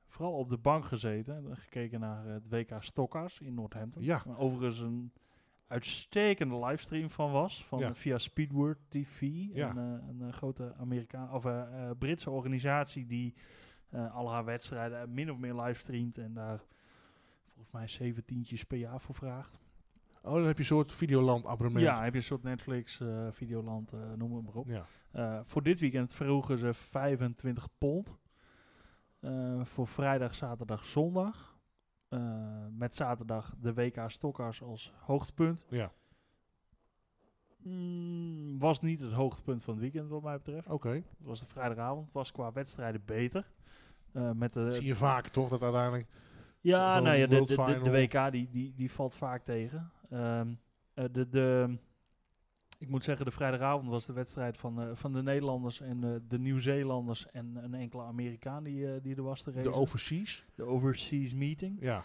vooral op de bank gezeten. en Gekeken naar eh, het WK Stokkers in Northampton.
Ja.
Waar overigens een uitstekende livestream van was. Van,
Ja.
Via Speedword TV.
Ja.
Een, eh, een eh, grote Amerika of, eh, eh, Britse organisatie die eh, al haar wedstrijden eh, min of meer livestreamt. En daar volgens mij zeventientjes per jaar voor vraagt.
Oh, dan heb je een soort Videoland abonnement.
Ja, heb je een soort Netflix, eh, Videoland, eh, noem het maar op.
Ja.
Eh, voor dit weekend vroegen ze 25 pond. Eh, voor vrijdag, zaterdag, zondag. Eh, met zaterdag de WK Stokkers als hoogtepunt.
Ja.
Mm, was niet het hoogtepunt van het weekend wat mij betreft.
Oké.
Het was de vrijdagavond. Was qua wedstrijden beter. Eh, met de,
Zie je vaak toch dat uiteindelijk...
ja,
Zo'n
nou ja, de,
World
de, de, de
Final.
WK die, die, die valt vaak tegen. Ehm, eh, de, de, ik moet zeggen, de vrijdagavond was de wedstrijd van, eh, van de Nederlanders en eh, de Nieuw-Zeelanders en een enkele Amerikaan die, eh, die er was te
De
racen.
overseas.
De overseas meeting.
Ja.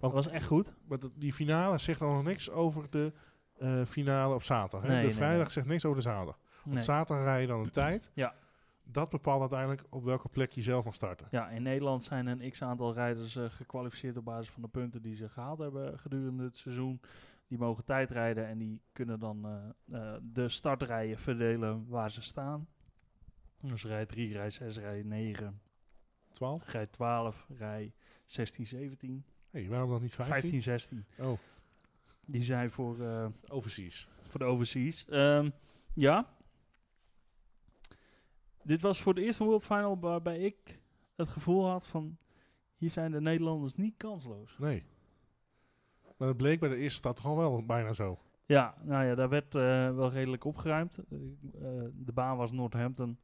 Dat was echt goed.
Maar dat- die finale zegt dan nog niks over de eh, finale op zaterdag. hè?
Nee,
de
nee,
vrijdag
nee.
zegt niks over de zaterdag.
Nee.
Op zaterdag rij je dan een tijd.
Ja.
Dat bepaalt uiteindelijk op welke plek je zelf mag starten.
Ja, in Nederland zijn een x-aantal rijders eh, gekwalificeerd op basis van de punten die ze gehaald hebben gedurende het seizoen. Die mogen tijdrijden en die kunnen dan eh, eh, de startrijen verdelen waar ze staan. Dus rij 3, rij 6, rij 9,
12?
rij 12, rij 16, 17,
hey, waarom dan niet 15?
15, 16.
Oh,
Die zijn voor, eh,
overseas.
voor de overseas. Ehm, ja. Dit was voor de eerste World Final waarbij ik het gevoel had van... Hier zijn de Nederlanders niet kansloos.
Nee. Maar dat bleek bij de eerste stad gewoon wel bijna zo.
Ja, nou ja, daar werd eh, wel redelijk opgeruimd. Eh, eh, de baan was Northampton.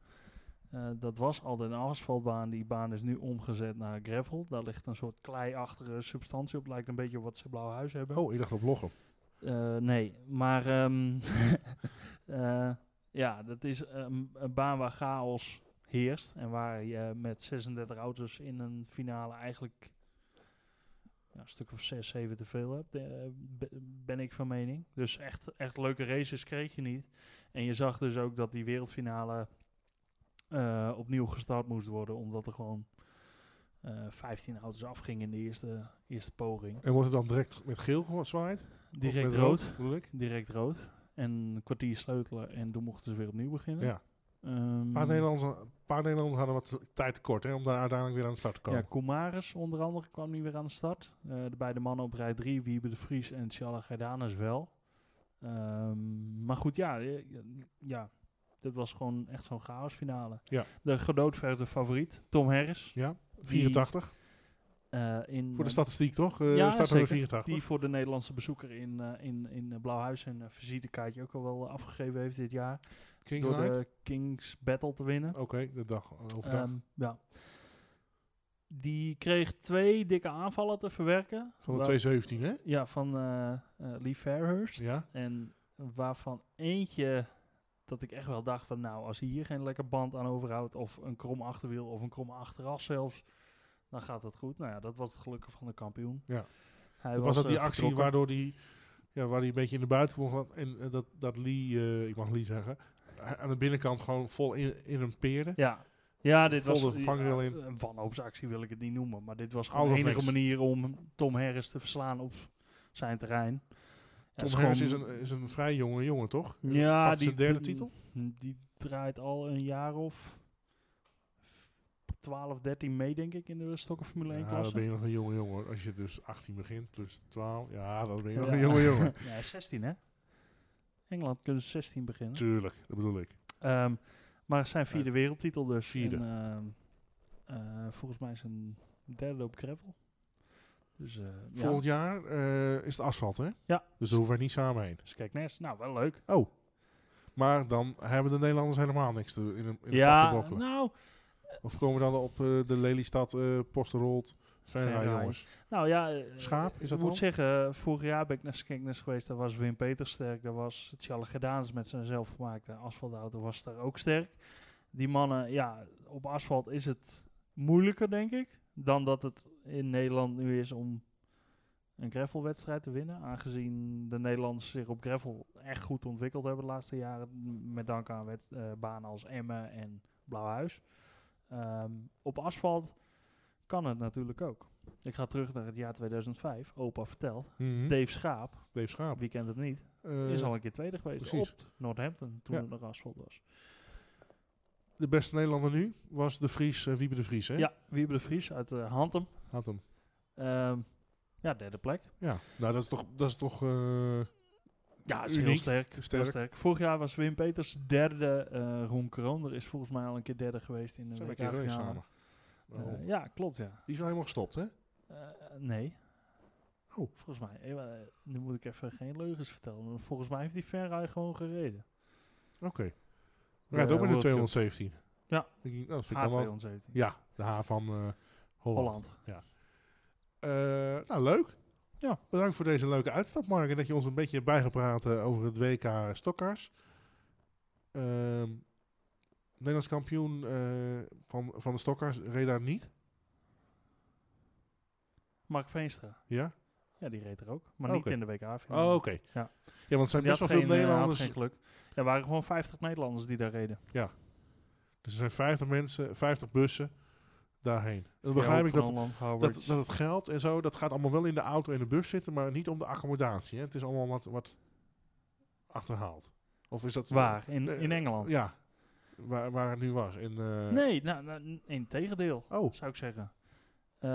Eh, dat was altijd een asfaltbaan. Die baan is nu omgezet naar gravel. Daar ligt een soort kleiachtige substantie op. Lijkt een beetje op wat ze Blauw Huis hebben.
Oh, ik dacht op Lochem.
Eh, nee, maar ehm, eh, ja, dat is een, een baan waar chaos heerst. En waar je met 36 auto's in een finale eigenlijk ja, een stuk of 6, 7 te veel hebt. eh, be- ben ik van mening. Dus echt, echt leuke races kreeg je niet. En je zag dus ook dat die wereldfinale eh, opnieuw gestart moest worden. Omdat er gewoon eh 15 auto's afgingen in de eerste, eerste poging.
En wordt het dan direct met geel gezwaaid? Of
Direct
met
rood
bedoel ik?
direct rood. En een kwartier sleutelen. En toen mochten ze weer opnieuw beginnen.
Ja.
Ehm,
Een paar, Nederlanders, een paar Nederlanders hadden wat tijd tekort hè, om daar uiteindelijk weer aan de start te
ja,
komen.
Komaris onder andere kwam nu weer aan de start. Eh, de beide mannen op rij 3, Wiebe de Vries en Shala Gerdanes wel. Ehm, maar goed, ja, eh, ja, dit was gewoon echt zo'n chaosfinale.
Ja.
De gedoodverde favoriet, Tom Harris.
Ja, 84.
eh, in,
Voor de
eh,
statistiek toch? Eh
ja,
staat er
zeker.
84.
Die voor de Nederlandse bezoeker in, eh, in, in eh, Blauwhuis een eh, visitekaartje ook al wel eh, afgegeven heeft dit jaar.
King's
Door
Knight?
de Kings Battle te winnen.
Oké, de dag overdag.
Ehm, ja. Die kreeg twee dikke aanvallen te verwerken.
van de
Waar-
217, hè?
Ja, van eh, eh, Lee Fairhurst.
Ja.
En waarvan eentje dat ik echt wel dacht van... nou, als hij hier geen lekker band aan overhoudt... of een krom achterwiel of een krom achteras zelfs... dan gaat dat goed. Nou ja, dat was het gelukkig van de kampioen.
Ja.
Hij
Dat was dat
eh,
die actie
vertrokken.
waardoor die, ja, waar die een beetje in de buitenkant had. En eh, dat, dat Lee, eh, ik mag Lee zeggen, a- aan de binnenkant gewoon vol in, in een peerde.
Ja, ja dit was
Vol de vangrail
ja,
in.
Een wanhoopsactie wil ik het niet noemen. Maar dit was gewoon
Alles
de enige
niks.
manier om Tom Harris te verslaan op zijn terrein. Ja, het
Tom
is
Harris is eh,
gewoon-
een, is een vrij jonge jongen, toch?
ja,
Pakt zijn derde
d-
titel?
Die draait al een jaar of 12, 13 mee, denk ik, in de stokken Formule 1
Ja, dan
klasse.
ben je nog een jonge jongen. hoor. Als je dus 18 begint, plus 12. Ja, dan ben je nog
Ja.
een jonge jongen.
Ja, 16 hè? Engeland kunnen ze 16 beginnen.
Tuurlijk, dat bedoel ik.
Ehm, maar zijn vierde wereldtitel dus.
Vierde.
En, ehm, eh, volgens mij zijn derde op gravel. Dus, eh, ja.
Volgend jaar eh, is het asfalt, hè?
Ja.
Dus daar hoeven wij niet samen heen.
dus kijk Nes, nou wel leuk.
Oh. Maar dan hebben de Nederlanders helemaal niks te, in een, in een pak te
ja,
brokkelen.
nou,
Of komen we dan op eh, de Lelystad, eh Posterold, Venray,
Venray.
jongens.
nou ja. eh,
Schaap, is dat
Ik moet
al?
zeggen, vorig jaar ben ik naar Skenknes geweest. Daar was Wim Peters sterk. Daar was Tjalle Gedaans met zijn zelfgemaakte asfaltauto was daar ook sterk. Die mannen, ja, op asfalt is het moeilijker, denk ik, dan dat het in Nederland nu is om een gravelwedstrijd te winnen. Aangezien de Nederlanders zich op gravel echt goed ontwikkeld hebben de laatste jaren. m- Met dank aan wet- eh, banen als Emmen en Blauwhuis. Ehm, op asfalt kan het natuurlijk ook. Ik ga terug naar het jaar 2005. Opa vertelt.
Mhm.
Dave Schaap,
Dave Schaap.
wie kent het niet,
Oh. Eh,
is al een keer tweede geweest
precies.
op Northampton toen
Ja.
het nog asfalt was.
De beste Nederlander nu was de Vries, eh, Wiebe de Vries, hè?
Ja, Wiebe de Vries uit eh, Hantem.
Had hem.
Ehm, ja, derde plek.
Ja, nou dat is toch... Dat is toch eh,
Ja, is
uniek.
heel sterk.
Sterk.
Heel sterk. Vorig jaar was Wim Peters derde. eh Roem Krooner is volgens mij al een keer derde geweest in de
Zijn we een keer
WK-finale.
geweest samen.
Eh,
Oh.
ja, klopt ja.
Die is wel helemaal gestopt, hè?
Eh, nee.
Oh.
Volgens mij, eh, wa- eh, nu moet ik even geen leugens vertellen. maar volgens mij heeft die Ferrari gewoon gereden. Eh,
Oké. Rijdt ook met de
World Cup.
217.
Ja.
Ik denk, nou, dat vind ik dan wel...
H217.
Ja, de H van eh, Holland.
Holland.
Eh, nou, leuk.
Ja.
Bedankt voor deze leuke uitstap, Mark. En dat je ons een beetje hebt bijgepraat eh, over het WK Stokkars. Ehm, Nederlands kampioen eh, van, van de Stokkars reed daar niet.
Mark Veenstra.
Ja?
Ja, die reed er ook. Maar
Oké.
niet in de WK-finale.
Oh, oké.
Ja.
ja, want er zijn
Die
best
had
wel
geen,
veel
eh,
Nederlanders.
had geen geluk. Ja, er waren gewoon 50 Nederlanders die daar reden.
Dus er zijn 50 mensen, 50 bussen daarheen. Dan
Ja,
begrijp
ook
ik
van
dat,
Holland,
dat,
Howard.
dat het geld en zo, dat gaat allemaal wel in de auto en de bus zitten, maar niet om de accommodatie. Hè? Het is allemaal wat, wat achterhaald. Of is dat
Waar? In,
Eh,
in Engeland?
Ja, waar, waar het nu was. In, eh,
Nee, nou, nou, in tegendeel,
Oh,
zou ik zeggen. Eh,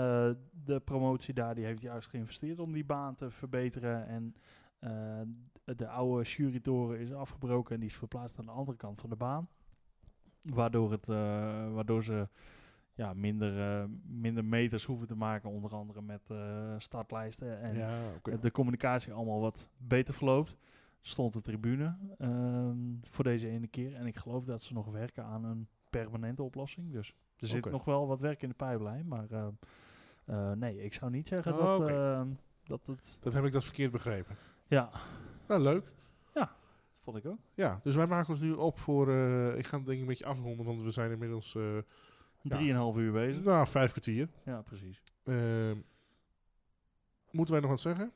de promotie daar die heeft juist geïnvesteerd om die baan te verbeteren. En eh, d- de oude jurytoren is afgebroken en die is verplaatst aan de andere kant van de baan. Waardoor, het, eh, waardoor ze ja, minder, eh, minder meters hoeven te maken, onder andere met eh, startlijsten en
ja, oké.
de communicatie allemaal wat beter verloopt. Stond de tribune ehm, voor deze ene keer. En ik geloof dat ze nog werken aan een permanente oplossing. Dus er zit
Oké.
nog wel wat werk in de pijplijn. Maar ehm, eh, nee, ik zou niet zeggen
Oh,
dat,
oké.
ehm, dat het...
Dat heb ik dat verkeerd begrepen.
Ja,
Nou, leuk.
vond ik ook.
Ja, dus wij maken ons nu op voor... eh, ik ga het denk ik een beetje afronden, want we zijn inmiddels... eh
Drieënhalf uur bezig.
nou, vijf kwartier.
Ja, precies.
Ehm, moeten wij nog wat zeggen?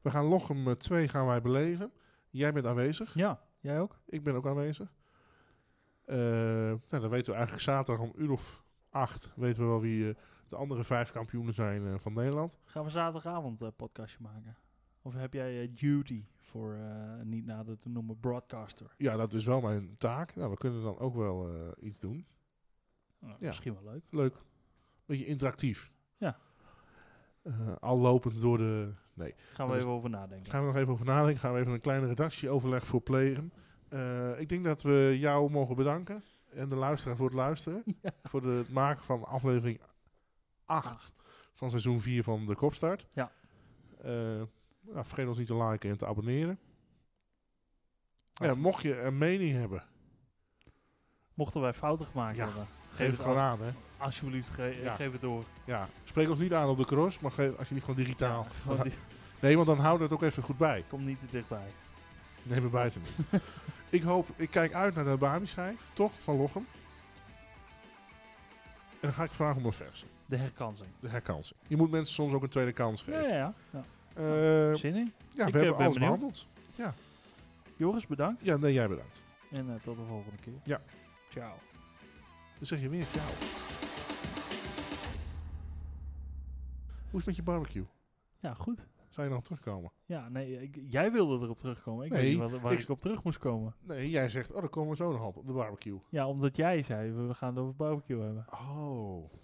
We gaan Lochem eh, 2 gaan wij beleven. Jij bent aanwezig.
Ja, jij ook?
Ik ben ook aanwezig. Eh, nou, dan weten we eigenlijk zaterdag om uur of acht... weten we wel wie eh, de andere vijf kampioenen zijn eh, van Nederland.
Gaan we zaterdagavond een podcastje maken? Of heb jij eh, duty voor eh, niet nader te noemen broadcaster?
Ja, dat is wel mijn taak. Nou, we kunnen dan ook wel eh, iets doen.
Nou,
Ja.
Misschien wel leuk.
Leuk. Beetje interactief.
Ja.
Eh, al lopend door de... Nee.
Gaan
Dat
we
is-
even over nadenken.
Gaan we nog even over nadenken. Gaan we even een kleine redactieoverleg voor plegen. Eh, ik denk dat we jou mogen bedanken. En de luisteraar voor het luisteren. Voor de- het maken van aflevering 8 van seizoen 4 van de Kopstart.
Ja.
Eh, nou, vergeet ons niet te liken en te abonneren. Ja, mocht je een mening hebben,
Mochten wij fouten gemaakt
Ja.
hebben,
geef het gewoon aan. Hè.
Alsjeblieft, ge-
Ja.
geef het door.
Ja, spreek ons niet aan op de cross, maar geef alsjeblieft gewoon digitaal.
Ja, gewoon die-
Nee, want dan houden we het ook even goed bij.
kom niet te dichtbij.
Nee, we buiten niet. ik hoop, ik kijk uit naar de Bami-schijf, toch, van Lochem. En dan ga ik vragen om een versie,
De herkansing.
de herkansing. Je moet mensen soms ook een tweede kans
Ja,
geven.
ja, ja. ja.
Eh,
Zin in?
ja,
ik,
we
eh,
hebben
ben
alles
benieuwd.
behandeld.
Joris, bedankt.
Ja, nee, jij bedankt.
En eh, tot de volgende keer.
Ja.
Ciao.
Dan zeg je weer ciao. Hoe is het met je barbecue?
Ja, goed.
Zou je dan terugkomen?
Ja, nee, ik- jij wilde erop terugkomen. Ik
Nee,
weet niet waar, waar
ik-
ik op terug moest komen.
Nee, jij zegt, oh, dan komen we zo nog op, op de barbecue.
Ja, omdat jij zei, we we gaan het over barbecue hebben.
Oh,